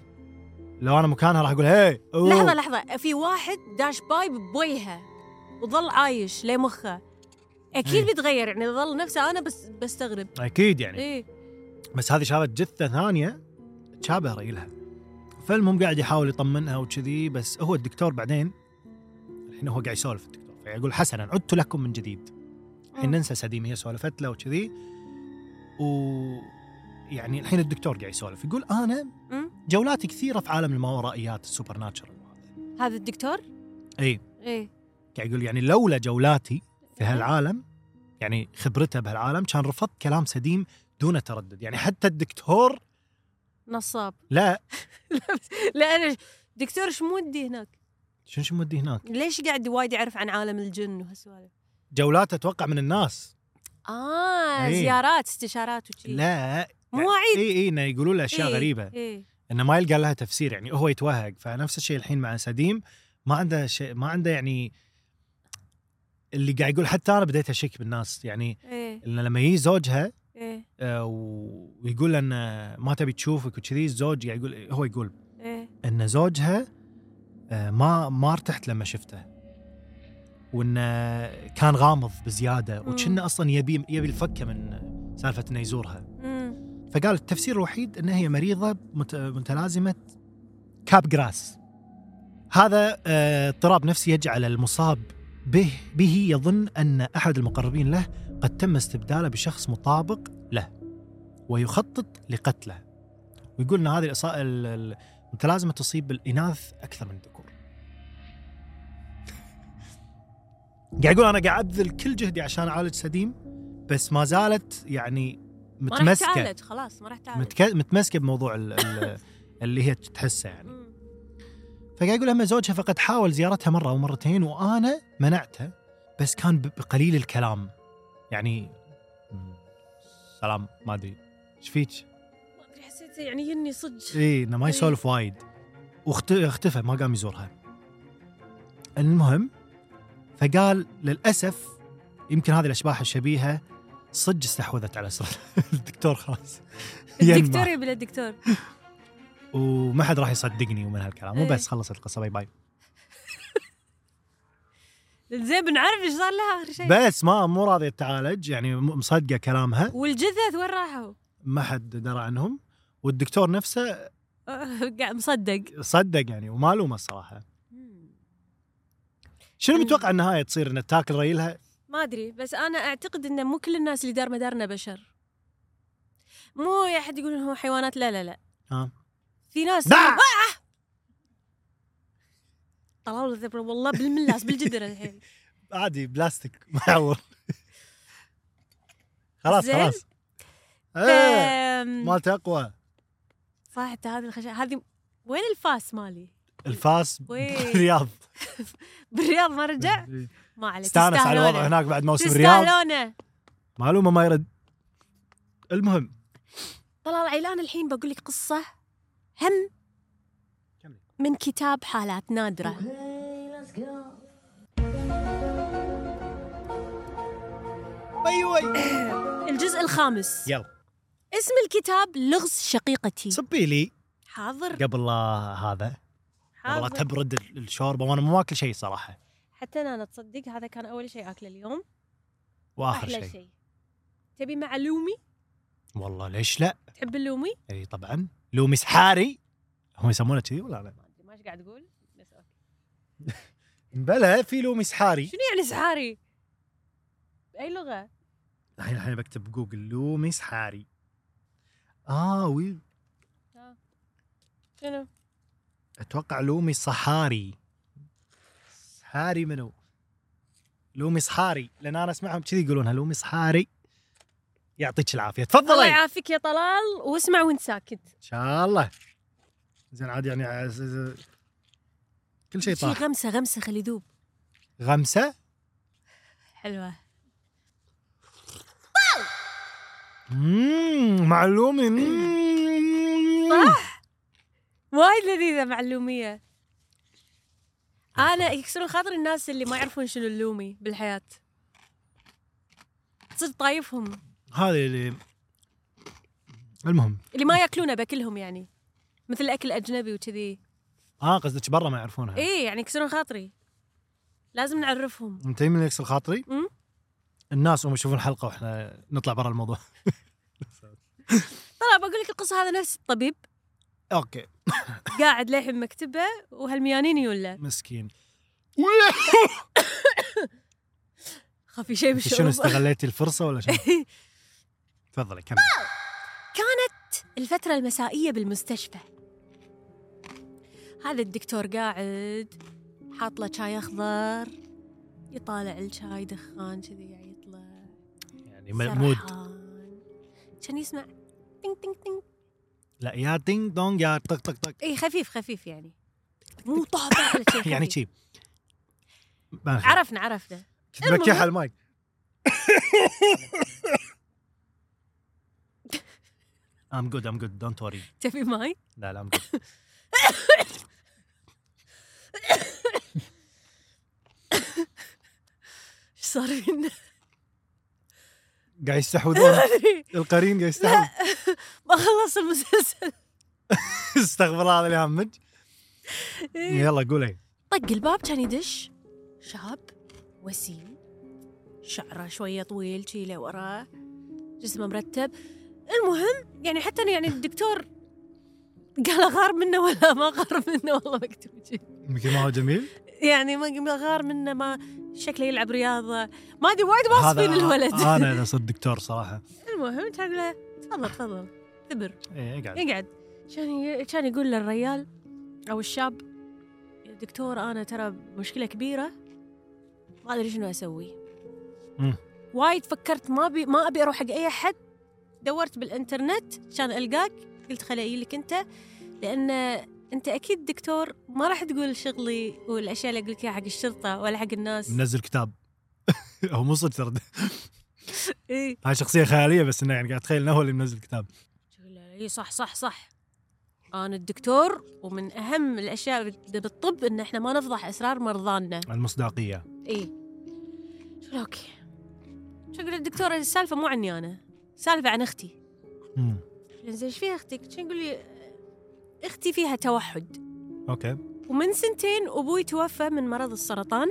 Speaker 2: لو انا مكانها راح اقول هي أوه.
Speaker 3: لحظه لحظه في واحد داش بايب بويها وظل عايش لمخه اكيد
Speaker 2: إيه.
Speaker 3: بيتغير يعني ظل نفسه انا بس بستغرب
Speaker 2: اكيد يعني
Speaker 3: ايه
Speaker 2: بس هذه شافت جثه ثانيه تشابه ريلها فالمهم قاعد يحاول يطمنها وكذي بس هو الدكتور بعدين الحين هو قاعد يسولف الدكتور فيقول حسنا عدت لكم من جديد الحين
Speaker 3: مم.
Speaker 2: ننسى سديم هي سولفت له وكذي و يعني الحين الدكتور قاعد يسولف يقول انا
Speaker 3: أمم.
Speaker 2: جولات كثيره في عالم الماورائيات السوبر ناتشرال
Speaker 3: هذا الدكتور؟
Speaker 2: اي
Speaker 3: ايه
Speaker 2: قاعد يقول يعني لولا جولاتي إيه. في
Speaker 3: إيه.
Speaker 2: هالعالم يعني خبرته بهالعالم كان رفضت كلام سديم دون تردد يعني حتى الدكتور
Speaker 3: نصاب [LAUGHS]
Speaker 2: لا
Speaker 3: لا انا دكتور شو مودي هناك؟
Speaker 2: شنو شو مودي هناك
Speaker 3: ليش قاعد وايد يعرف عن عالم الجن وهالسوالف؟
Speaker 2: جولاته اتوقع من الناس
Speaker 3: اه
Speaker 2: إيه.
Speaker 3: زيارات استشارات وشي
Speaker 2: لا
Speaker 3: مواعيد
Speaker 2: اي اي انه يقولوا له اشياء
Speaker 3: إيه،
Speaker 2: غريبه
Speaker 3: ايه
Speaker 2: انه ما يلقى لها تفسير يعني هو يتوهق فنفس الشيء الحين مع سديم ما عنده شيء ما عنده يعني اللي قاعد يقول حتى انا بديت اشك بالناس يعني
Speaker 3: ايه
Speaker 2: إن لما يجي زوجها
Speaker 3: ايه
Speaker 2: آه، ويقول له انه ما تبي تشوفك وكذي الزوج قاعد يقول هو يقول
Speaker 3: ايه
Speaker 2: ان زوجها آه، ما ما ارتحت لما شفته وانه كان غامض بزياده
Speaker 3: مم.
Speaker 2: وكنا اصلا يبي يبي الفكه من سالفه انه يزورها
Speaker 3: أمم.
Speaker 2: فقال التفسير الوحيد ان هي مريضه مت- متلازمه كاب جراس هذا آه، اضطراب نفسي يجعل المصاب به به يظن ان احد المقربين له قد تم استبداله بشخص مطابق له ويخطط لقتله ويقول ان هذه الإصا- ال- ال- المتلازمه تصيب الاناث اكثر من الذكور [LAUGHS] قاعد يقول انا قاعد ابذل كل جهدي عشان اعالج سديم بس ما زالت يعني
Speaker 3: ما راح
Speaker 2: متمسكه
Speaker 3: تعالج خلاص ما راح تعالج
Speaker 2: متك... متمسكه بموضوع ال... ال... اللي هي تحسه يعني
Speaker 3: أمم.
Speaker 2: فقاعد يقول اما زوجها فقد حاول زيارتها مره او مرتين وانا منعته بس كان ب- بقليل الكلام يعني مم، سلام ما ادري ايش فيك؟
Speaker 3: ما ادري حسيت يعني يني صدق
Speaker 2: اي انه ما يسولف وايد واخت- اختفى ما قام يزورها المهم فقال للاسف يمكن هذه الاشباح الشبيهه صدق استحوذت على اسره [LAUGHS] الدكتور خلاص ينمى.
Speaker 3: الدكتور يبي الدكتور
Speaker 2: وما حد راح يصدقني ومن هالكلام
Speaker 3: إيه.
Speaker 2: وبس خلصت القصه باي باي
Speaker 3: زين بنعرف ايش صار لها اخر شيء
Speaker 2: بس ما مو راضيه تعالج يعني م- مصدقه كلامها
Speaker 3: والجثث وين راحوا؟ [LAUGHS]
Speaker 2: ما حد درى عنهم والدكتور نفسه
Speaker 3: أه، قاعد مصدق
Speaker 2: صدق يعني وما لومه الصراحه شنو
Speaker 3: مم.
Speaker 2: متوقع النهايه تصير ان تاكل ريلها
Speaker 3: ما ادري بس انا اعتقد ان مو كل الناس اللي دار مدارنا بشر مو يا احد يقول انهم حيوانات لا لا لا
Speaker 2: ها
Speaker 3: في ناس آه!
Speaker 2: دع!
Speaker 3: طلعوا الذبره والله بالملاس بالجدر
Speaker 2: [LAUGHS]
Speaker 3: الحين
Speaker 2: عادي بلاستيك [LAUGHS] ما
Speaker 3: [LAUGHS]
Speaker 2: يعور خلاص
Speaker 3: زين.
Speaker 2: خلاص ايه
Speaker 3: أم،
Speaker 2: مالت اقوى
Speaker 3: صح حتى هذه الخشب هذه وين الفاس مالي؟
Speaker 2: الفاس
Speaker 3: وين؟
Speaker 2: بالرياض
Speaker 3: بالرياض ما رجع؟ ما عليك
Speaker 2: استانس على
Speaker 3: تستاهلونه.
Speaker 2: الوضع هناك بعد موسم الرياض
Speaker 3: تستاهلونه
Speaker 2: معلومه ما يرد المهم
Speaker 3: طلال عيلان الحين بقول لك قصه هم من كتاب حالات نادره
Speaker 2: ايوه
Speaker 3: الجزء الخامس
Speaker 2: يلا
Speaker 3: اسم الكتاب لغز شقيقتي
Speaker 2: صبي لي
Speaker 3: حاضر
Speaker 2: قبل لا هذا والله
Speaker 3: حاضر
Speaker 2: تبرد ال- الشوربه وانا مو ماكل شيء صراحه
Speaker 3: حتى انا تصدق هذا كان اول شيء اكله اليوم
Speaker 2: واخر
Speaker 3: احلى
Speaker 2: شيء
Speaker 3: شيء تبي مع لومي
Speaker 2: والله ليش لا؟
Speaker 3: تحب اللومي
Speaker 2: اي طبعا لومي سحاري هم يسمونه كذي ولا لا؟
Speaker 3: ما ادري ما ايش قاعد تقول بس اوكي
Speaker 2: بلا في لومي سحاري
Speaker 3: شنو يعني سحاري باي لغه
Speaker 2: الحين الحين بكتب بجوجل لومي سحاري اه وي
Speaker 3: شنو
Speaker 2: اتوقع لومي صحاري سحاري منو؟ لومي صحاري لان انا اسمعهم كذي يقولونها لومي صحاري يعطيك العافيه
Speaker 3: الله
Speaker 2: تفضلي ان
Speaker 3: يعافيك يا طلال واسمع وانت ساكت
Speaker 2: شاء الله زين عاد يعني عز- عز- كل شيء
Speaker 3: شي
Speaker 2: طاح
Speaker 3: غمسه غمسه خلي يذوب
Speaker 2: غمسه
Speaker 3: حلوه
Speaker 2: مم، معلومه مم.
Speaker 3: وايد لذيذه مع اللوميه انا يكسرون خاطر الناس اللي ما يعرفون شنو اللومي بالحياه صرت طايفهم
Speaker 2: هذه اللي المهم
Speaker 3: اللي ما ياكلونه باكلهم يعني مثل اكل اجنبي وكذي
Speaker 2: اه قصدك برا ما يعرفونها
Speaker 3: ايه يعني يكسرون خاطري لازم نعرفهم
Speaker 2: انت من اللي يكسر خاطري؟
Speaker 3: مم.
Speaker 2: الناس هم يشوفون الحلقه واحنا نطلع برا الموضوع [LAUGHS]
Speaker 3: طلع بقول لك القصه هذا نفس الطبيب
Speaker 2: اوكي
Speaker 3: قاعد للحين مكتبه وهالميانين يولا
Speaker 2: مسكين
Speaker 3: خفي شيء
Speaker 2: انت شنو
Speaker 3: بالشرب
Speaker 2: استغليتي الفرصه ولا شنو؟
Speaker 3: [LAUGHS]
Speaker 2: تفضلي كمل
Speaker 3: الفترة المسائية بالمستشفى هذا الدكتور قاعد حاط له شاي اخضر يطالع الشاي دخان كذي قاعد يطلع
Speaker 2: يعني م- مود
Speaker 3: سرحان. كان يسمع تنك تنك تنك
Speaker 2: لا يا دينج دونج يا طق طق طق
Speaker 3: اي خفيف خفيف يعني مو طابع لا شي
Speaker 2: [LAUGHS] يعني
Speaker 3: خفيف.
Speaker 2: شي ما أدري.
Speaker 3: عرفنا عرفنا
Speaker 2: كنت بكيح على المايك I'm good I'm good don't worry
Speaker 3: تبي ماي؟
Speaker 2: لا لا I'm good
Speaker 3: ايش صار فينا؟ [LAUGHS]
Speaker 2: قاعد يستحوذون
Speaker 3: ما أدري.
Speaker 2: القرين قاعد يستحوذ
Speaker 3: ما خلص المسلسل
Speaker 2: [LAUGHS] استغفر الله اللي يهمج يلا قولي
Speaker 3: طق الباب كان يدش شاب وسيم شعره شويه طويل شي لورا جسمه مرتب المهم يعني حتى أنا يعني الدكتور قال غار منه ولا ما غار منه والله مكتوب شي.
Speaker 2: يمكن ما هو جميل
Speaker 3: يعني ما ما غار منه ما شكله يلعب رياضه ما ادري وايد واصفين الولد [LAUGHS]
Speaker 2: انا اذا صرت دكتور صراحه
Speaker 3: المهم كان له تفضل تفضل ثبر
Speaker 2: ايه قاعد
Speaker 3: يقعد كان ي- كان يقول للريال او الشاب يا دكتور انا ترى مشكله كبيره ما ادري شنو اسوي
Speaker 2: مم.
Speaker 3: وايد فكرت ما بي ما ابي اروح حق اي احد دورت بالانترنت كان القاك قلت خلي اجي لك انت لان انت اكيد دكتور ما راح تقول شغلي والاشياء اللي اقول لك اياها حق الشرطه ولا حق الناس
Speaker 2: منزل كتاب [LAUGHS] هو مو صدق ترى
Speaker 3: اي
Speaker 2: هاي شخصيه خياليه بس انه يعني قاعد اتخيل انه هو اللي منزل كتاب
Speaker 3: اي إيه، صح صح صح انا الدكتور ومن اهم الاشياء بال- بالطب ان احنا ما نفضح اسرار مرضانا
Speaker 2: المصداقيه
Speaker 3: اي شو رأيك؟ شو يقول الدكتور السالفه مو عني انا سالفه عن اختي
Speaker 2: مم.
Speaker 3: قلت زين ايش فيها اختك شو يقول لي اختي فيها توحد
Speaker 2: اوكي
Speaker 3: ومن سنتين ابوي توفى من مرض السرطان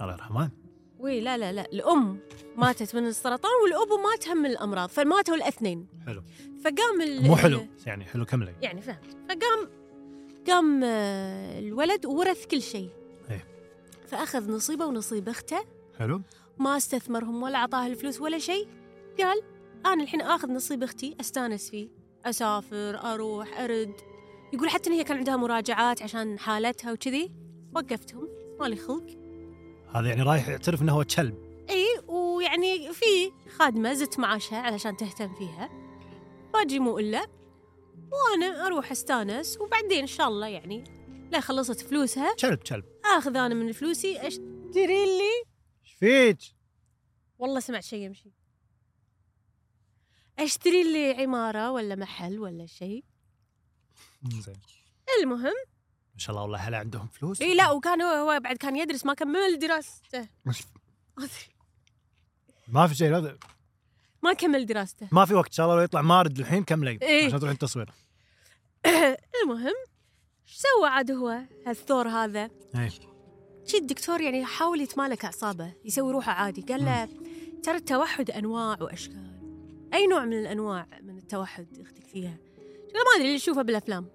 Speaker 2: الله يرحمه
Speaker 3: وي لا لا لا الام ماتت من السرطان والابو مات هم من الامراض فماتوا الاثنين
Speaker 2: حلو
Speaker 3: فقام ال-
Speaker 2: مو حلو يعني حلو كملي
Speaker 3: يعني فهمت فقام قام آه، الولد وورث كل شيء
Speaker 2: إيه.
Speaker 3: فأخذ نصيبه ونصيب أخته
Speaker 2: حلو
Speaker 3: ما استثمرهم ولا أعطاه الفلوس ولا شيء قال أنا الحين آخذ نصيب أختي أستانس فيه أسافر أروح أرد يقول حتى إن هي كان عندها مراجعات عشان حالتها وكذي وقفتهم مالي خلق
Speaker 2: هذا يعني رايح يعترف انه هو كلب
Speaker 3: اي ويعني في خادمه زدت معاشها علشان تهتم فيها باجي مو الا وانا اروح استانس وبعدين ان شاء الله يعني لا خلصت فلوسها
Speaker 2: كلب كلب
Speaker 3: اخذ انا من فلوسي اشتري لي
Speaker 2: ايش فيك؟
Speaker 3: والله سمعت شيء يمشي اشتري لي عماره ولا محل ولا شيء
Speaker 2: زين
Speaker 3: المهم
Speaker 2: ما شاء الله والله هلا عندهم فلوس
Speaker 3: اي لا وكان هو, هو بعد كان يدرس ما كمل دراسته [LAUGHS]
Speaker 2: ما في شيء لا-
Speaker 3: ما كمل دراسته
Speaker 2: ما في وقت ان شاء الله لو يطلع مارد الحين كملي
Speaker 3: إيه.
Speaker 2: عشان تروح التصوير
Speaker 3: المهم ايش سوى عاد هو هالثور هذا
Speaker 2: اي
Speaker 3: شي الدكتور يعني حاول يتمالك أعصابه يسوي روحه عادي قال له ترى التوحد أنواع وأشكال أي نوع من الأنواع من التوحد أختك فيها قال ما أدري اللي أشوفه بالأفلام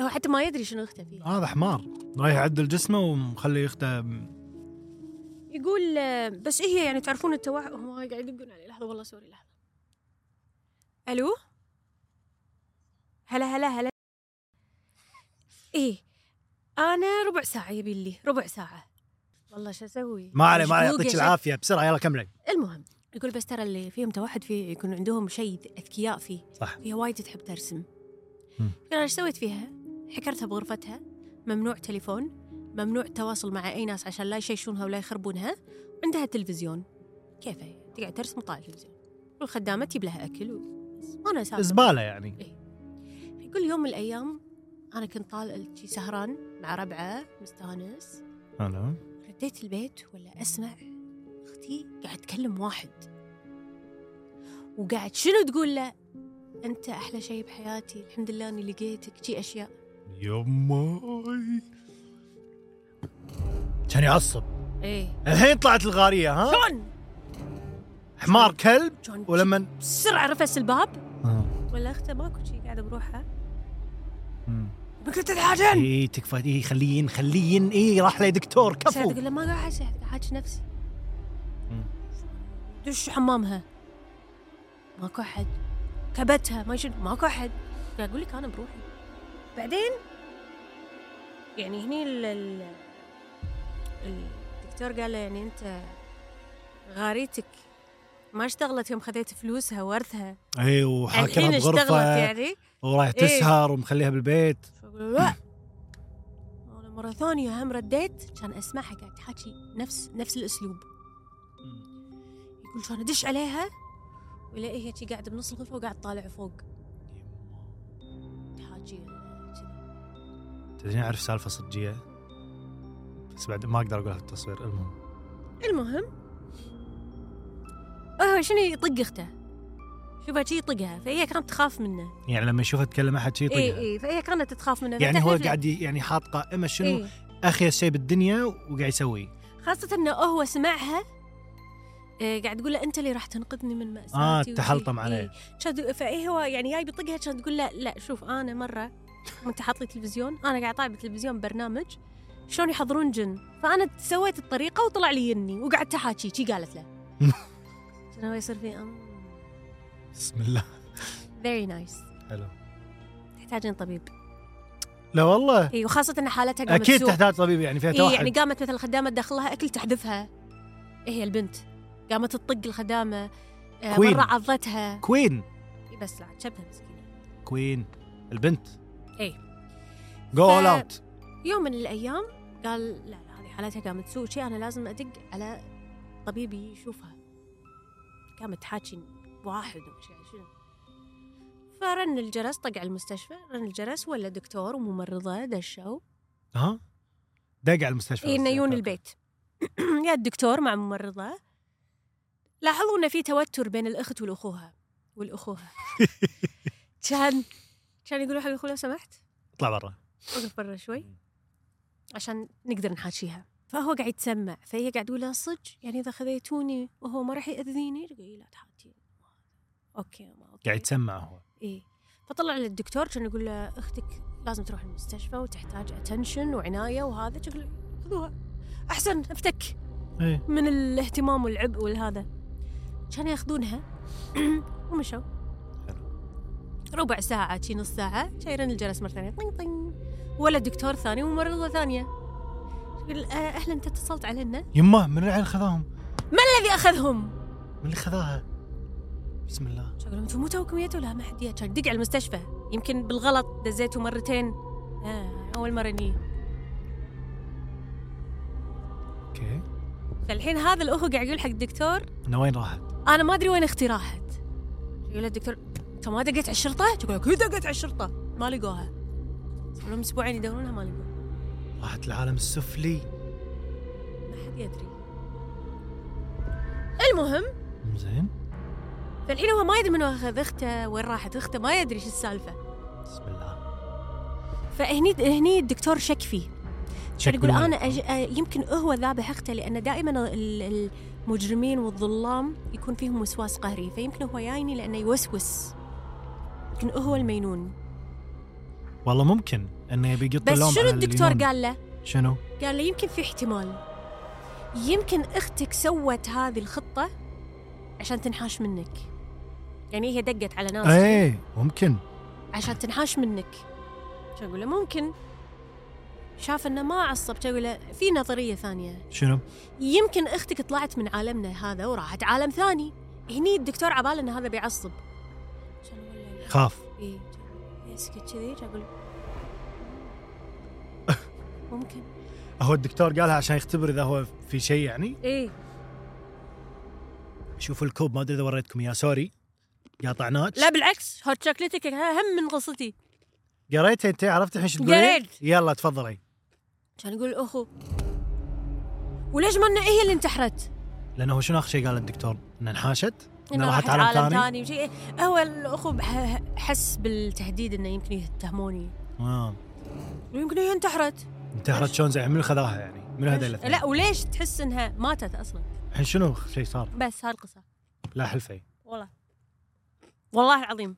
Speaker 3: هو حتى ما يدري شنو أخته فيها
Speaker 2: هذا حمار رايح يعدل جسمه ومخلي اخته م-
Speaker 3: يقول آه، بس إيه هي يعني تعرفون التوحد هم قاعد يدقون علي لحظة والله سوري لحظة ألو هلا هلا هلا إيه أنا ربع ساعة يبي لي ربع ساعة والله شو أسوي
Speaker 2: ما عليه ما عليه
Speaker 3: مشبوقة
Speaker 2: يعطيك
Speaker 3: شكلي.
Speaker 2: العافيه بسرعه يلا كملي
Speaker 3: المهم يقول بس ترى اللي فيهم توحد فيه يكون عندهم شيء اذكياء فيه
Speaker 2: صح
Speaker 3: هي وايد تحب ترسم
Speaker 2: مم.
Speaker 3: قال ايش سويت فيها؟ حكرتها بغرفتها ممنوع تليفون ممنوع التواصل مع اي ناس عشان لا يشيشونها ولا يخربونها عندها تلفزيون كيف هي؟ تقعد ترسم وطالع تلفزيون والخدامه تجيب لها اكل و- بس وانا اسافر
Speaker 2: زباله يعني
Speaker 3: يقول يوم من الايام انا كنت طالع شي سهران مع ربعه مستانس
Speaker 2: انا
Speaker 3: رديت البيت ولا أسمع أختي قاعد تكلم واحد وقاعد شنو تقول له أنت أحلى شيء بحياتي الحمد لله أني لقيتك شي أشياء
Speaker 2: يماي كان يعصب
Speaker 3: إيه
Speaker 2: الحين طلعت الغاريه ها
Speaker 3: شلون
Speaker 2: حمار كلب
Speaker 3: شلون
Speaker 2: ولما
Speaker 3: بسرعة رفس الباب ولا أخته ماكو شي قاعدة بروحها بكرة تتعاجن
Speaker 2: اي إيه، تكفى اي خلين خلين اي إيه، راح لي دكتور
Speaker 3: سعد
Speaker 2: كفو
Speaker 3: تقول له ما قاعد أحس قاعد أحاكي نفسي
Speaker 2: مم.
Speaker 3: دش حمامها ماكو أحد كبتها ما شنو ماكو أحد قاعد أقول لك أنا بروحي بعدين يعني هني ال ال الدكتور قال له يعني انت غاريتك ما اشتغلت يوم خذيت فلوسها ورثها
Speaker 2: اي إيه، وحاكمها
Speaker 3: الحين اشتغلت
Speaker 2: بغرفه
Speaker 3: يعني
Speaker 2: ورايح
Speaker 3: إيه.
Speaker 2: تسهر ومخليها بالبيت
Speaker 3: فأقول لا انا مره ثانيه هم رديت كان اسمعها قاعد تحكي نفس نفس الاسلوب يقول كان ادش عليها والاقيها هي قاعده بنص الغرفه وقاعد طالع فوق تحاكي كذا.
Speaker 2: تدرين اعرف سالفه صجيه بس بعد ما اقدر اقولها في التصوير المهم
Speaker 3: المهم هو شنو يطق اخته شوفها شي يطقها فهي كانت تخاف منه
Speaker 2: يعني لما يشوفها تكلم احد شيء
Speaker 3: اي
Speaker 2: يطقها
Speaker 3: اي فهي كانت تخاف منه
Speaker 2: يعني هو
Speaker 3: فتحلف له.
Speaker 2: قاعد ي- يعني حاط قائمه شنو
Speaker 3: إيه.
Speaker 2: اخيس شيء بالدنيا وقاعد يسويه
Speaker 3: خاصة انه هو سمعها آه، قاعد تقول له انت اللي راح تنقذني من مأساتي
Speaker 2: آه،
Speaker 3: وشي.
Speaker 2: تحلطم عليه.
Speaker 3: إيه. شاد- فاي هو يعني جاي بيطقها كانت تقول له لا شوف انا مرة انت حاط لي تلفزيون انا قاعد طالع بالتلفزيون برنامج شلون يحضرون جن فانا سويت الطريقة وطلع لي يني وقعدت احاكي شي قالت
Speaker 2: [LAUGHS]
Speaker 3: له كان هو يصير في
Speaker 2: بسم الله
Speaker 3: فيري نايس
Speaker 2: حلو
Speaker 3: تحتاجين طبيب
Speaker 2: لا والله
Speaker 3: اي وخاصة ان حالتها قامت
Speaker 2: اكيد
Speaker 3: تسوق.
Speaker 2: تحتاج طبيب يعني فيها
Speaker 3: إيه
Speaker 2: توحد
Speaker 3: يعني قامت مثلا خدامة تدخل لها أكل تحذفها إيه هي البنت قامت تطق الخدامة آه،
Speaker 2: كوين.
Speaker 3: مرة عضتها
Speaker 2: كوين
Speaker 3: إيه بس لا شبه مسكينة
Speaker 2: كوين البنت
Speaker 3: إيه.
Speaker 2: جو اول
Speaker 3: ف-
Speaker 2: اوت
Speaker 3: يوم من الأيام قال لا لا هذه حالتها قامت تسوء شيء أنا لازم أدق على طبيبي يشوفها قامت تحاكي واحد ومش عارف شنو فرن الجرس طق على المستشفى رن الجرس ولا دكتور وممرضة دشوا
Speaker 2: ها دق على المستشفى
Speaker 3: إيه إنه يجون البيت [CLEARS THROAT] يا الدكتور مع ممرضة لاحظوا إن في توتر بين الأخت والأخوها والأخوها كان كان يقولوا حق الأخو لو سمحت
Speaker 2: اطلع برا
Speaker 3: وقف برا شوي عشان نقدر نحاكيها فهو قاعد يتسمع فهي قاعد تقول له صج يعني إذا خذيتوني وهو ما راح يأذيني يقول لي لا تحاتي أوكي ما أوكي
Speaker 2: قاعد يتسمع هو
Speaker 3: إيه فطلع للدكتور كان يقول له أختك لازم تروح المستشفى وتحتاج اتنشن وعناية وهذا شكل خذوها أحسن افتك
Speaker 2: ايه
Speaker 3: من الاهتمام والعبء والهذا كانوا ياخذونها [CLEARS THROAT] ومشوا ربع ساعة شي نص ساعة شايرين الجرس مرة ثانية طين طين ولا دكتور ثاني وممرضة ثانية تقول آه، أهلا أنت اتصلت علينا
Speaker 2: يمه من العيال خذاهم
Speaker 3: الذي أخذهم
Speaker 2: من اللي خذاها بسم الله
Speaker 3: شو أقول لهم أنتم مو توكم يتوا لا ما حد يا دق على المستشفى يمكن بالغلط دزيته مرتين آه أول مرة ني
Speaker 2: اوكي
Speaker 3: فالحين هذا الأخو قاعد يقول حق الدكتور
Speaker 2: انه وين راحت؟
Speaker 3: انا ما ادري وين اختي راحت يقول الدكتور انت ما دقيت على الشرطه؟ تقول اكيد دقيت على الشرطه ما لقوها صار لهم اسبوعين يدورونها ما لقوها
Speaker 2: راحت العالم السفلي
Speaker 3: ما حد يدري المهم
Speaker 2: زين
Speaker 3: فالحين هو ما يدري من اخذ اخته وين راحت اخته ما يدري شو السالفه
Speaker 2: بسم الله
Speaker 3: فهني هني الدكتور شك فيه
Speaker 2: شك
Speaker 3: يقول
Speaker 2: بالله.
Speaker 3: انا أج... آه، يمكن هو ذابح اخته لان دائما ال- المجرمين والظلام يكون فيهم وسواس قهري فيمكن هو جايني لانه يوسوس يمكن هو المينون
Speaker 2: والله ممكن انه يبي يقط
Speaker 3: بس
Speaker 2: اللوم
Speaker 3: شنو
Speaker 2: على
Speaker 3: الدكتور
Speaker 2: اليونان.
Speaker 3: قال له؟
Speaker 2: شنو؟
Speaker 3: قال لي يمكن في احتمال يمكن اختك سوت هذه الخطه عشان تنحاش منك يعني هي دقت على ناس
Speaker 2: ايه ممكن
Speaker 3: عشان تنحاش منك شو اقول له ممكن شاف انه ما عصب شو اقول له في نظريه ثانيه
Speaker 2: شنو؟
Speaker 3: يمكن اختك طلعت من عالمنا هذا وراحت عالم ثاني هني الدكتور عباله ان هذا بيعصب شو أقول له؟
Speaker 2: خاف
Speaker 3: إيه، يسكت كذي شو اقول ممكن
Speaker 2: هو الدكتور قالها عشان يختبر اذا هو في شيء يعني
Speaker 3: ايه
Speaker 2: شوفوا الكوب ما ادري اذا وريتكم اياه سوري قاطعناك
Speaker 3: لا بالعكس هوت شوكليتك هم من قصتي
Speaker 2: قريتها انت عرفت الحين شو تقولين؟
Speaker 3: قريت.
Speaker 2: يلا تفضلي
Speaker 3: كان يقول اخو وليش ما إنه هي اللي انتحرت؟
Speaker 2: لانه هو شنو اخر شيء قال الدكتور؟ انها انحاشت؟
Speaker 3: إنها
Speaker 2: راحت عالم ثاني؟
Speaker 3: ثاني وشيء هو الاخو بح- حس بالتهديد انه يمكن يتهموني
Speaker 2: اه
Speaker 3: ويمكن هي انتحرت
Speaker 2: انتحرت شلون زين من اللي خذاها يعني؟ من هذا الاثنين؟
Speaker 3: لا وليش تحس انها ماتت اصلا؟
Speaker 2: الحين شنو شيء صار؟
Speaker 3: بس هالقصه
Speaker 2: لا حلفي
Speaker 3: والله والله العظيم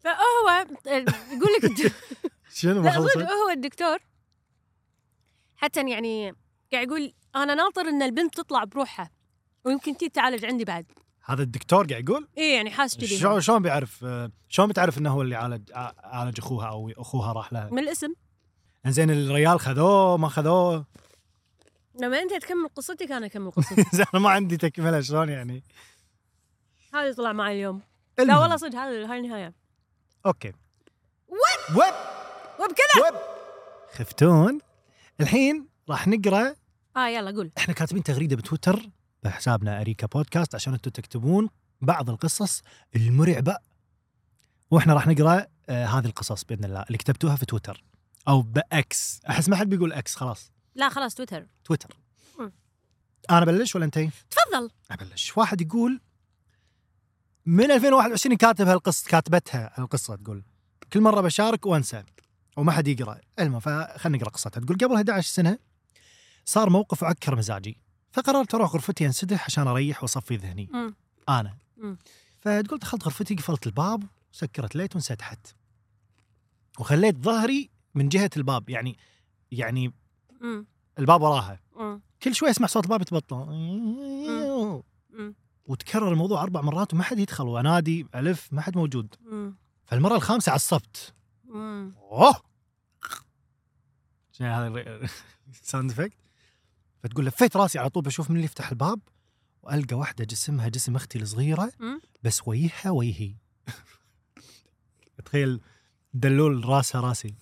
Speaker 3: فهو يقول لك
Speaker 2: شنو ما
Speaker 3: لا صدق
Speaker 2: خلصت؟
Speaker 3: هو الدكتور حتى يعني قاعد يقول انا ناطر ان البنت تطلع بروحها ويمكن تي تعالج عندي بعد
Speaker 2: هذا الدكتور قاعد يقول
Speaker 3: اي يعني حاس كذي
Speaker 2: شلون شلون بيعرف آه، شلون بتعرف انه هو اللي عالج ع- عالج اخوها او اخوها راح لها
Speaker 3: من الاسم
Speaker 2: زين الريال خذوه ما خذوه [LAUGHS]
Speaker 3: لما انت تكمل قصتك انا اكمل
Speaker 2: [LAUGHS]
Speaker 3: قصتي
Speaker 2: زين انا ما عندي تكمله شلون يعني
Speaker 3: هذا طلع معي اليوم لا
Speaker 2: المهم.
Speaker 3: والله صدق هذا هاي النهايه
Speaker 2: اوكي ويب ويب
Speaker 3: وبكذا
Speaker 2: ويب خفتون الحين راح نقرا
Speaker 3: اه يلا قول
Speaker 2: احنا كاتبين تغريده بتويتر بحسابنا اريكا بودكاست عشان انتم تكتبون بعض القصص المرعبه واحنا راح نقرا آه هذه القصص باذن الله اللي كتبتوها في تويتر او باكس احس ما حد بيقول اكس خلاص
Speaker 3: لا خلاص تويتر
Speaker 2: تويتر
Speaker 3: مم.
Speaker 2: انا بلش ولا انتي؟
Speaker 3: تفضل
Speaker 2: ابلش واحد يقول من 2021 كاتب هالقصه كاتبتها هالقصه تقول كل مره بشارك وانسى وما حد يقرا المهم فخلنا نقرا قصتها تقول قبل 11 سنه صار موقف عكر مزاجي فقررت اروح غرفتي انسدح عشان اريح واصفي ذهني
Speaker 3: مم.
Speaker 2: انا
Speaker 3: مم.
Speaker 2: فتقول دخلت غرفتي قفلت الباب وسكرت ليت وانسدحت وخليت ظهري من جهه الباب يعني يعني
Speaker 3: مم.
Speaker 2: الباب وراها
Speaker 3: مم.
Speaker 2: كل شوي اسمع صوت الباب يتبطل
Speaker 3: مم.
Speaker 2: وتكرر الموضوع اربع مرات وما حد يدخل وانادي الف ما حد موجود
Speaker 3: مم.
Speaker 2: فالمره الخامسه عصبت
Speaker 3: مم.
Speaker 2: اوه شنو هذا [LAUGHS] الساوند افكت فتقول لفيت راسي على طول بشوف من اللي يفتح الباب والقى واحده جسمها جسم اختي الصغيره
Speaker 3: مم.
Speaker 2: بس وجهها وجهي تخيل دلول راسها راسي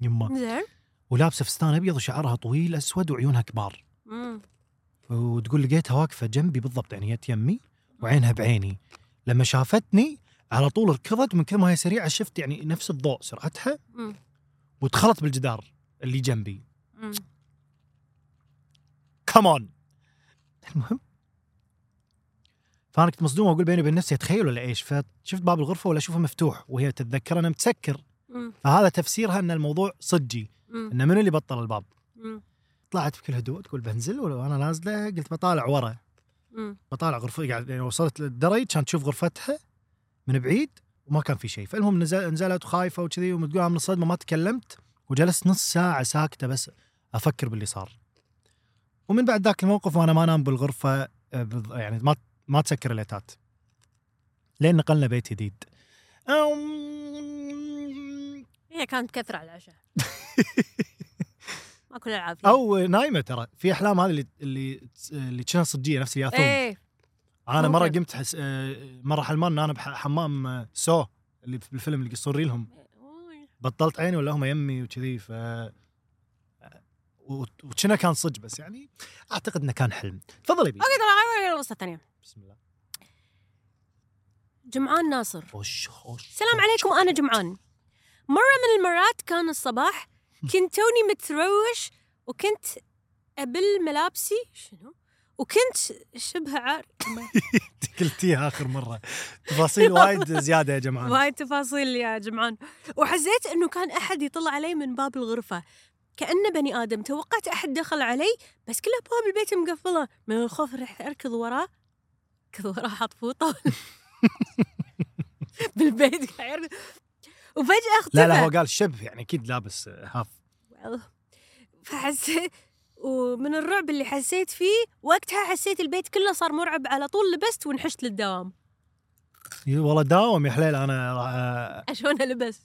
Speaker 2: يمه
Speaker 3: زين
Speaker 2: ولابسه فستان ابيض وشعرها طويل اسود وعيونها كبار
Speaker 3: مم.
Speaker 2: وتقول لقيتها واقفه جنبي بالضبط يعني جت يمي وعينها بعيني لما شافتني على طول ركضت من كثر ما هي سريعه شفت يعني نفس الضوء سرعتها
Speaker 3: مم.
Speaker 2: واتخلط بالجدار اللي جنبي
Speaker 3: مم.
Speaker 2: كمون المهم فانا كنت مصدوم واقول بيني وبين نفسي اتخيل ولا ايش فشفت باب الغرفه ولا اشوفه مفتوح وهي تتذكر انا متسكر
Speaker 3: مم.
Speaker 2: فهذا تفسيرها ان الموضوع صجي
Speaker 3: مم.
Speaker 2: انه منو اللي بطل الباب
Speaker 3: مم.
Speaker 2: طلعت بكل هدوء تقول بنزل وانا نازله قلت بطالع ورا
Speaker 3: مم.
Speaker 2: بطالع غرفة قاعد يعني وصلت للدرج كانت تشوف غرفتها من بعيد وما كان في شيء فالمهم نزل نزلت وخايفه وكذي ومتقولها من الصدمه ما تكلمت وجلست نص ساعه ساكته بس افكر باللي صار ومن بعد ذاك الموقف وانا ما انام بالغرفه آه، بال- يعني ما ما تسكر الليتات لين نقلنا بيت جديد أم-
Speaker 3: هي كانت كثرة على
Speaker 2: [LAUGHS]
Speaker 3: العشاء ماكو العاب فيها.
Speaker 2: او نايمه ترى في احلام هذه اللي اللي اللي كانها صجيه نفس الياثوم
Speaker 3: ايه
Speaker 2: انا مره
Speaker 3: ممكن.
Speaker 2: قمت حس... آه، مره حلمان إن انا بحمام آه، سو اللي بالفيلم اللي يصورين لهم
Speaker 3: أوي.
Speaker 2: بطلت عيني ولا هم يمي وكذي ف و- وكنا كان صدق بس يعني اعتقد انه كان حلم تفضلي بي
Speaker 3: اوكي ترى يلا قصة ثانية
Speaker 2: بسم الله
Speaker 3: جمعان ناصر
Speaker 2: خوش خوش
Speaker 3: السلام عليكم انا جمعان مره من المرات كان الصباح كنت توني متروش وكنت ابل ملابسي شنو وكنت شبه عار
Speaker 2: [LAUGHS] قلتيها اخر مره
Speaker 3: [LAUGHS]
Speaker 2: تفاصيل وايد زياده يا جماعه
Speaker 3: وايد تفاصيل يا جمعان وحسيت انه كان احد يطلع علي من باب الغرفه كانه بني ادم توقعت احد دخل علي بس كل ابواب البيت مقفله من الخوف رح اركض وراه اركض وراه حاط فوطه [LAUGHS] بالبيت قاعد يركض. وفجاه اختفى
Speaker 2: لا لا هو قال شبه يعني اكيد لابس آه، هاف
Speaker 3: فحسيت ومن الرعب اللي حسيت فيه وقتها حسيت البيت كله صار مرعب على طول لبست ونحشت للدوام
Speaker 2: والله داوم يا حليل انا آه،
Speaker 3: عشان لبس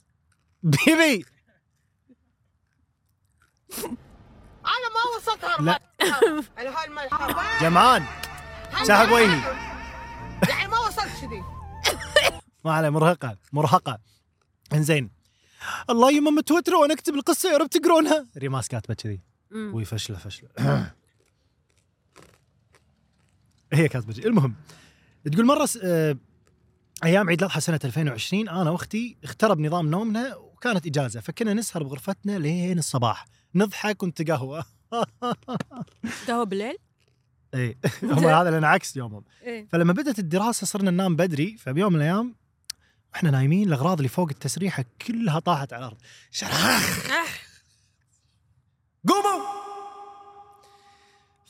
Speaker 2: بيبي
Speaker 4: انا ما وصلت
Speaker 2: لا.
Speaker 4: هالمرحله على هالمرحله
Speaker 2: جمعان سحب وجهي
Speaker 4: يعني ما وصلت كذي
Speaker 2: ما عليه مرهقه مرهقه انزين الله يمم تويتر وانا اكتب القصه يا رب تقرونها ريماس كاتبه كذي
Speaker 3: مم.
Speaker 2: وي فشله فشله [CLEARS THROAT] هي كاتبه كذي المهم تقول مره س... آه... ايام عيد الاضحى سنه 2020 انا واختي اخترب نظام نومنا وكانت اجازه فكنا نسهر بغرفتنا لين الصباح نضحك ونتقهوى [LAUGHS]
Speaker 3: قهوه بالليل
Speaker 2: اي هم إيه. هذا لان عكس يومهم
Speaker 3: ايه
Speaker 2: فلما بدات الدراسه صرنا ننام بدري فبيوم من الايام واحنا نايمين الاغراض اللي فوق التسريحه كلها طاحت على الارض شراخ
Speaker 3: أح.
Speaker 2: قوموا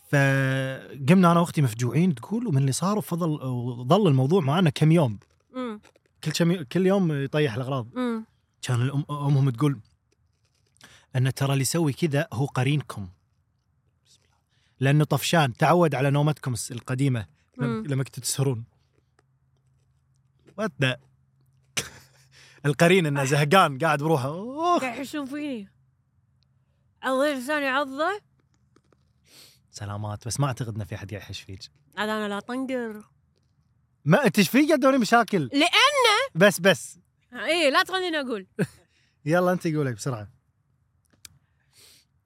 Speaker 2: فقمنا انا واختي مفجوعين تقول ومن اللي صار وفضل وظل الموضوع معنا كم يوم
Speaker 3: مم.
Speaker 2: كل كم كل يوم يطيح الاغراض
Speaker 3: مم.
Speaker 2: كان الام امهم تقول ان ترى اللي يسوي كذا هو قرينكم لانه طفشان تعود على نومتكم الس- القديمه لما-
Speaker 3: مم.
Speaker 2: لما كنتوا تسهرون وات ذا [LAUGHS] القرين انه زهقان قاعد بروحه أوه.
Speaker 3: قاعد يحشون فيني الله لساني عضه
Speaker 2: سلامات بس ما اعتقد انه في احد قاعد يحش فيك
Speaker 3: عاد انا لا طنقر
Speaker 2: ما انت ايش فيك قاعد تدورين مشاكل
Speaker 3: لان
Speaker 2: بس بس
Speaker 3: اي إيه، لا تخليني اقول
Speaker 2: يلا انت قولي بسرعه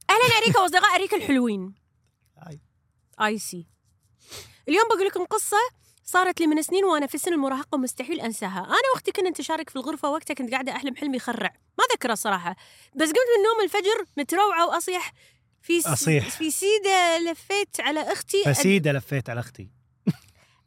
Speaker 3: اهلا اريكا واصدقاء اريكا الحلوين
Speaker 2: هاي.
Speaker 3: اي سي اليوم بقول لكم قصه صارت لي من سنين وانا في سن المراهقه ومستحيل انساها انا وقتي كنا نتشارك في الغرفه وقتها كنت قاعده احلم حلم يخرع ما اذكره صراحه بس قمت من النوم الفجر متروعه واصيح في س...
Speaker 2: أصيح.
Speaker 3: في سيده لفيت على اختي أد-
Speaker 2: فسيده إيه، لفيت على اختي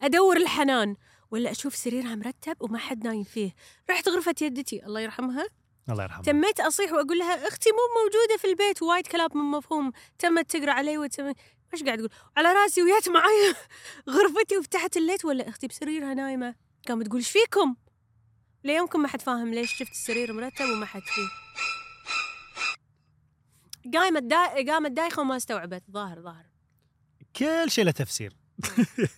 Speaker 3: ادور الحنان ولا اشوف سريرها مرتب وما حد نايم فيه رحت غرفه يدتي الله يرحمها
Speaker 2: الله يرحمه
Speaker 3: تميت اصيح واقول لها اختي مو موجوده في البيت وايد كلام من مفهوم تمت تقرا علي وتم ايش قاعد تقول على راسي ويات معي [LAUGHS] غرفتي وفتحت الليت ولا اختي بسريرها نايمه قامت تقول ايش فيكم ليومكم ما حد فاهم ليش شفت السرير مرتب وما حد فيه قامت دا... قامت دايخه وما استوعبت ظاهر ظاهر
Speaker 2: كل شيء له تفسير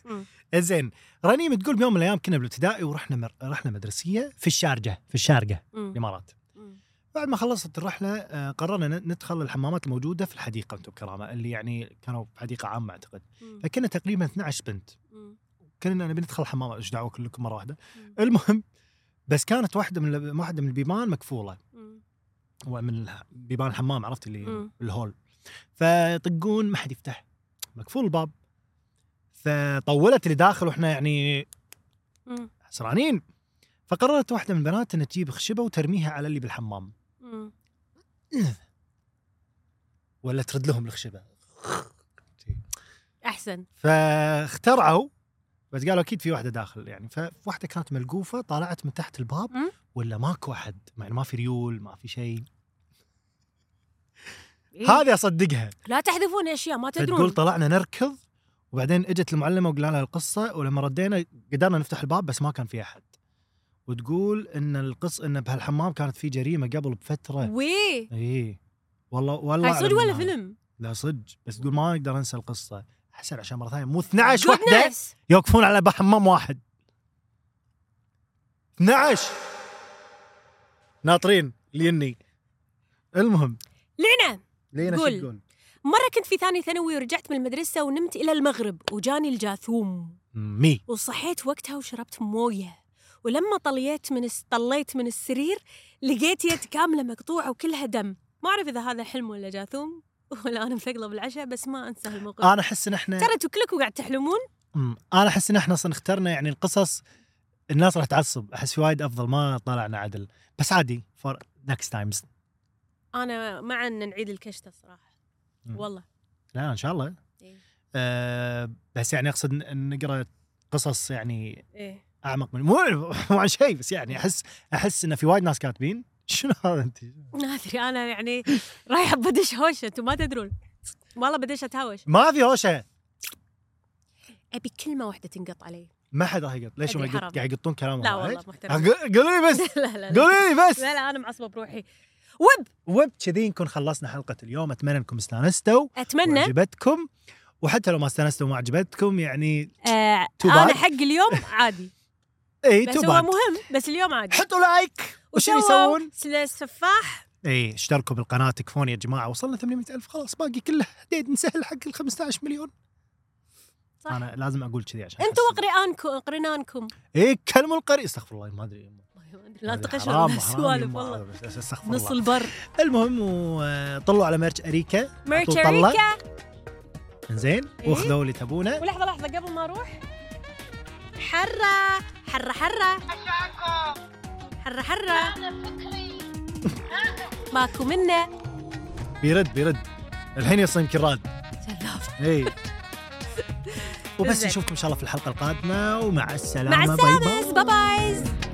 Speaker 3: مم.
Speaker 2: [LAUGHS] زين رنيم تقول بيوم من الايام كنا بالابتدائي ورحنا مر... رحله مدرسيه في الشارجه في الشارقه
Speaker 3: مم.
Speaker 2: الامارات
Speaker 3: مم.
Speaker 2: بعد ما خلصت الرحله آه، قررنا ن- ندخل الحمامات الموجوده في الحديقه انتم بكرامه اللي يعني كانوا في حديقه عامه اعتقد
Speaker 3: مم.
Speaker 2: فكنا تقريبا 12 بنت
Speaker 3: مم.
Speaker 2: كنا نبي ندخل الحمام ايش دعوه كلكم مره واحده
Speaker 3: مم.
Speaker 2: [LAUGHS] المهم بس كانت واحده من ال- واحده من البيبان مقفوله
Speaker 3: مم.
Speaker 2: ومن الح- بيبان الحمام عرفت اللي
Speaker 3: مم.
Speaker 2: الهول فيطقون ما حد يفتح مقفول الباب فطولت اللي داخل واحنا يعني
Speaker 3: مم.
Speaker 2: حسرانين فقررت واحده من البنات ان تجيب خشبه وترميها على اللي بالحمام
Speaker 3: مم.
Speaker 2: ولا ترد لهم الخشبه
Speaker 3: احسن
Speaker 2: فاخترعوا بس قالوا اكيد في واحده داخل يعني فواحده كانت ملقوفه طالعت من تحت الباب
Speaker 3: مم.
Speaker 2: ولا ماكو احد يعني ما في ريول ما في شيء
Speaker 3: إيه؟
Speaker 2: هذه اصدقها
Speaker 3: لا تحذفون اشياء ما
Speaker 2: فتقول
Speaker 3: تدرون
Speaker 2: طلعنا نركض وبعدين اجت المعلمه وقلنا لها القصه ولما ردينا قدرنا نفتح الباب بس ما كان في احد وتقول ان القص ان بهالحمام كانت في جريمه قبل بفتره
Speaker 3: وي
Speaker 2: اي والله والله
Speaker 3: هاي
Speaker 2: أعلم
Speaker 3: صدق ولا
Speaker 2: إنها-
Speaker 3: فيلم؟
Speaker 2: لا صدق بس تقول ما اقدر انسى القصه احسن عشان مره ثانيه مو 12
Speaker 3: Goodness.
Speaker 2: وحده يوقفون على باب حمام واحد 12 ناطرين ليني المهم
Speaker 3: لعنه
Speaker 2: لينا شو
Speaker 3: قول.
Speaker 2: تقول؟
Speaker 3: مرة كنت في ثاني ثانوي ورجعت من المدرسة ونمت إلى المغرب وجاني الجاثوم
Speaker 2: مي
Speaker 3: وصحيت وقتها وشربت موية ولما طليت من الس- طليت من السرير لقيت يد كاملة مقطوعة وكلها دم ما أعرف إذا هذا حلم ولا جاثوم [LAUGHS] ولا أنا مثقلة بالعشاء بس ما أنسى هالموقف
Speaker 2: انا احس ان احنا
Speaker 3: ترى انتوا كلكم قاعد تحلمون
Speaker 2: أمم، انا احس ان احنا اصلا اخترنا يعني القصص الناس راح تعصب احس في وايد افضل ما طلعنا عدل بس عادي فور نكست تايمز
Speaker 3: أنا مع أن نعيد الكشتة صراحة
Speaker 2: مم.
Speaker 3: والله
Speaker 2: لا ان شاء الله
Speaker 3: إيه.
Speaker 2: أه بس يعني اقصد ن- نقرا قصص يعني
Speaker 3: إيه
Speaker 2: اعمق من مو مو عن شيء بس يعني احس احس انه في وايد ناس كاتبين [LAUGHS] شنو هذا انت؟
Speaker 3: ما أدري أنا يعني رايحة بدش هوشة أنتوا ما تدرون والله بدش أتهاوش
Speaker 2: ما في هوشه
Speaker 3: أبي كلمة واحدة تنقط علي
Speaker 2: ما حد راح يقط ليش
Speaker 3: أدري،
Speaker 2: هم يقط-
Speaker 3: حرام.
Speaker 2: قاعد يقطون كلام
Speaker 3: لا
Speaker 2: واحد؟
Speaker 3: والله محترم [LAUGHS]
Speaker 2: أق- قولوا لي بس
Speaker 3: لا لا لا
Speaker 2: قولوا لي بس
Speaker 3: لا لا انا معصبه بروحي وب
Speaker 2: وبكذي نكون خلصنا حلقه اليوم اتمنى انكم استانستوا
Speaker 3: اتمنى
Speaker 2: وعجبتكم وحتى لو ما استانستوا وما عجبتكم يعني
Speaker 3: آه
Speaker 2: Too
Speaker 3: انا
Speaker 2: bad.
Speaker 3: حق اليوم
Speaker 2: [LAUGHS]
Speaker 3: عادي
Speaker 2: اي
Speaker 3: بس
Speaker 2: تو
Speaker 3: هو
Speaker 2: باد
Speaker 3: مهم بس اليوم عادي
Speaker 2: إيه، حطوا لايك وش يسوون؟
Speaker 3: السفاح
Speaker 2: اي اشتركوا بالقناه تكفون يا جماعه وصلنا 800 الف خلاص باقي كله ديد نسهل حق ال 15 مليون
Speaker 3: صح
Speaker 2: انا لازم اقول كذي عشان
Speaker 3: انتم
Speaker 2: أحس-
Speaker 3: وقرئانكم قرنانكم
Speaker 2: اي كلموا القري استغفر الله ما ادري
Speaker 3: لا
Speaker 2: هذه
Speaker 3: تقشعر [LAUGHS]
Speaker 2: حرام،
Speaker 3: من
Speaker 2: حرام،
Speaker 3: السوالف
Speaker 2: ما-
Speaker 3: والله
Speaker 2: بس- بس استغفر
Speaker 3: نص
Speaker 2: الله
Speaker 3: البر
Speaker 2: المهم وطلعوا على ميرش اريكا
Speaker 3: ميرتش
Speaker 2: طلع.
Speaker 3: أريكا.
Speaker 2: زين
Speaker 3: إيه.
Speaker 2: واخذوا اللي تبونه
Speaker 3: ولحظه لحظه قبل ما اروح حره حره حره
Speaker 4: اشعركم
Speaker 3: حره حره
Speaker 4: انا فكري
Speaker 3: ماكو منه
Speaker 2: بيرد بيرد الحين يصير يمكن راد إيه.
Speaker 3: سلاف. [LAUGHS]
Speaker 2: اي وبس
Speaker 3: زين.
Speaker 2: نشوفكم ان شاء الله في الحلقه القادمه ومع السلامه
Speaker 3: مع
Speaker 2: باي باي.
Speaker 3: السلامه باي بايز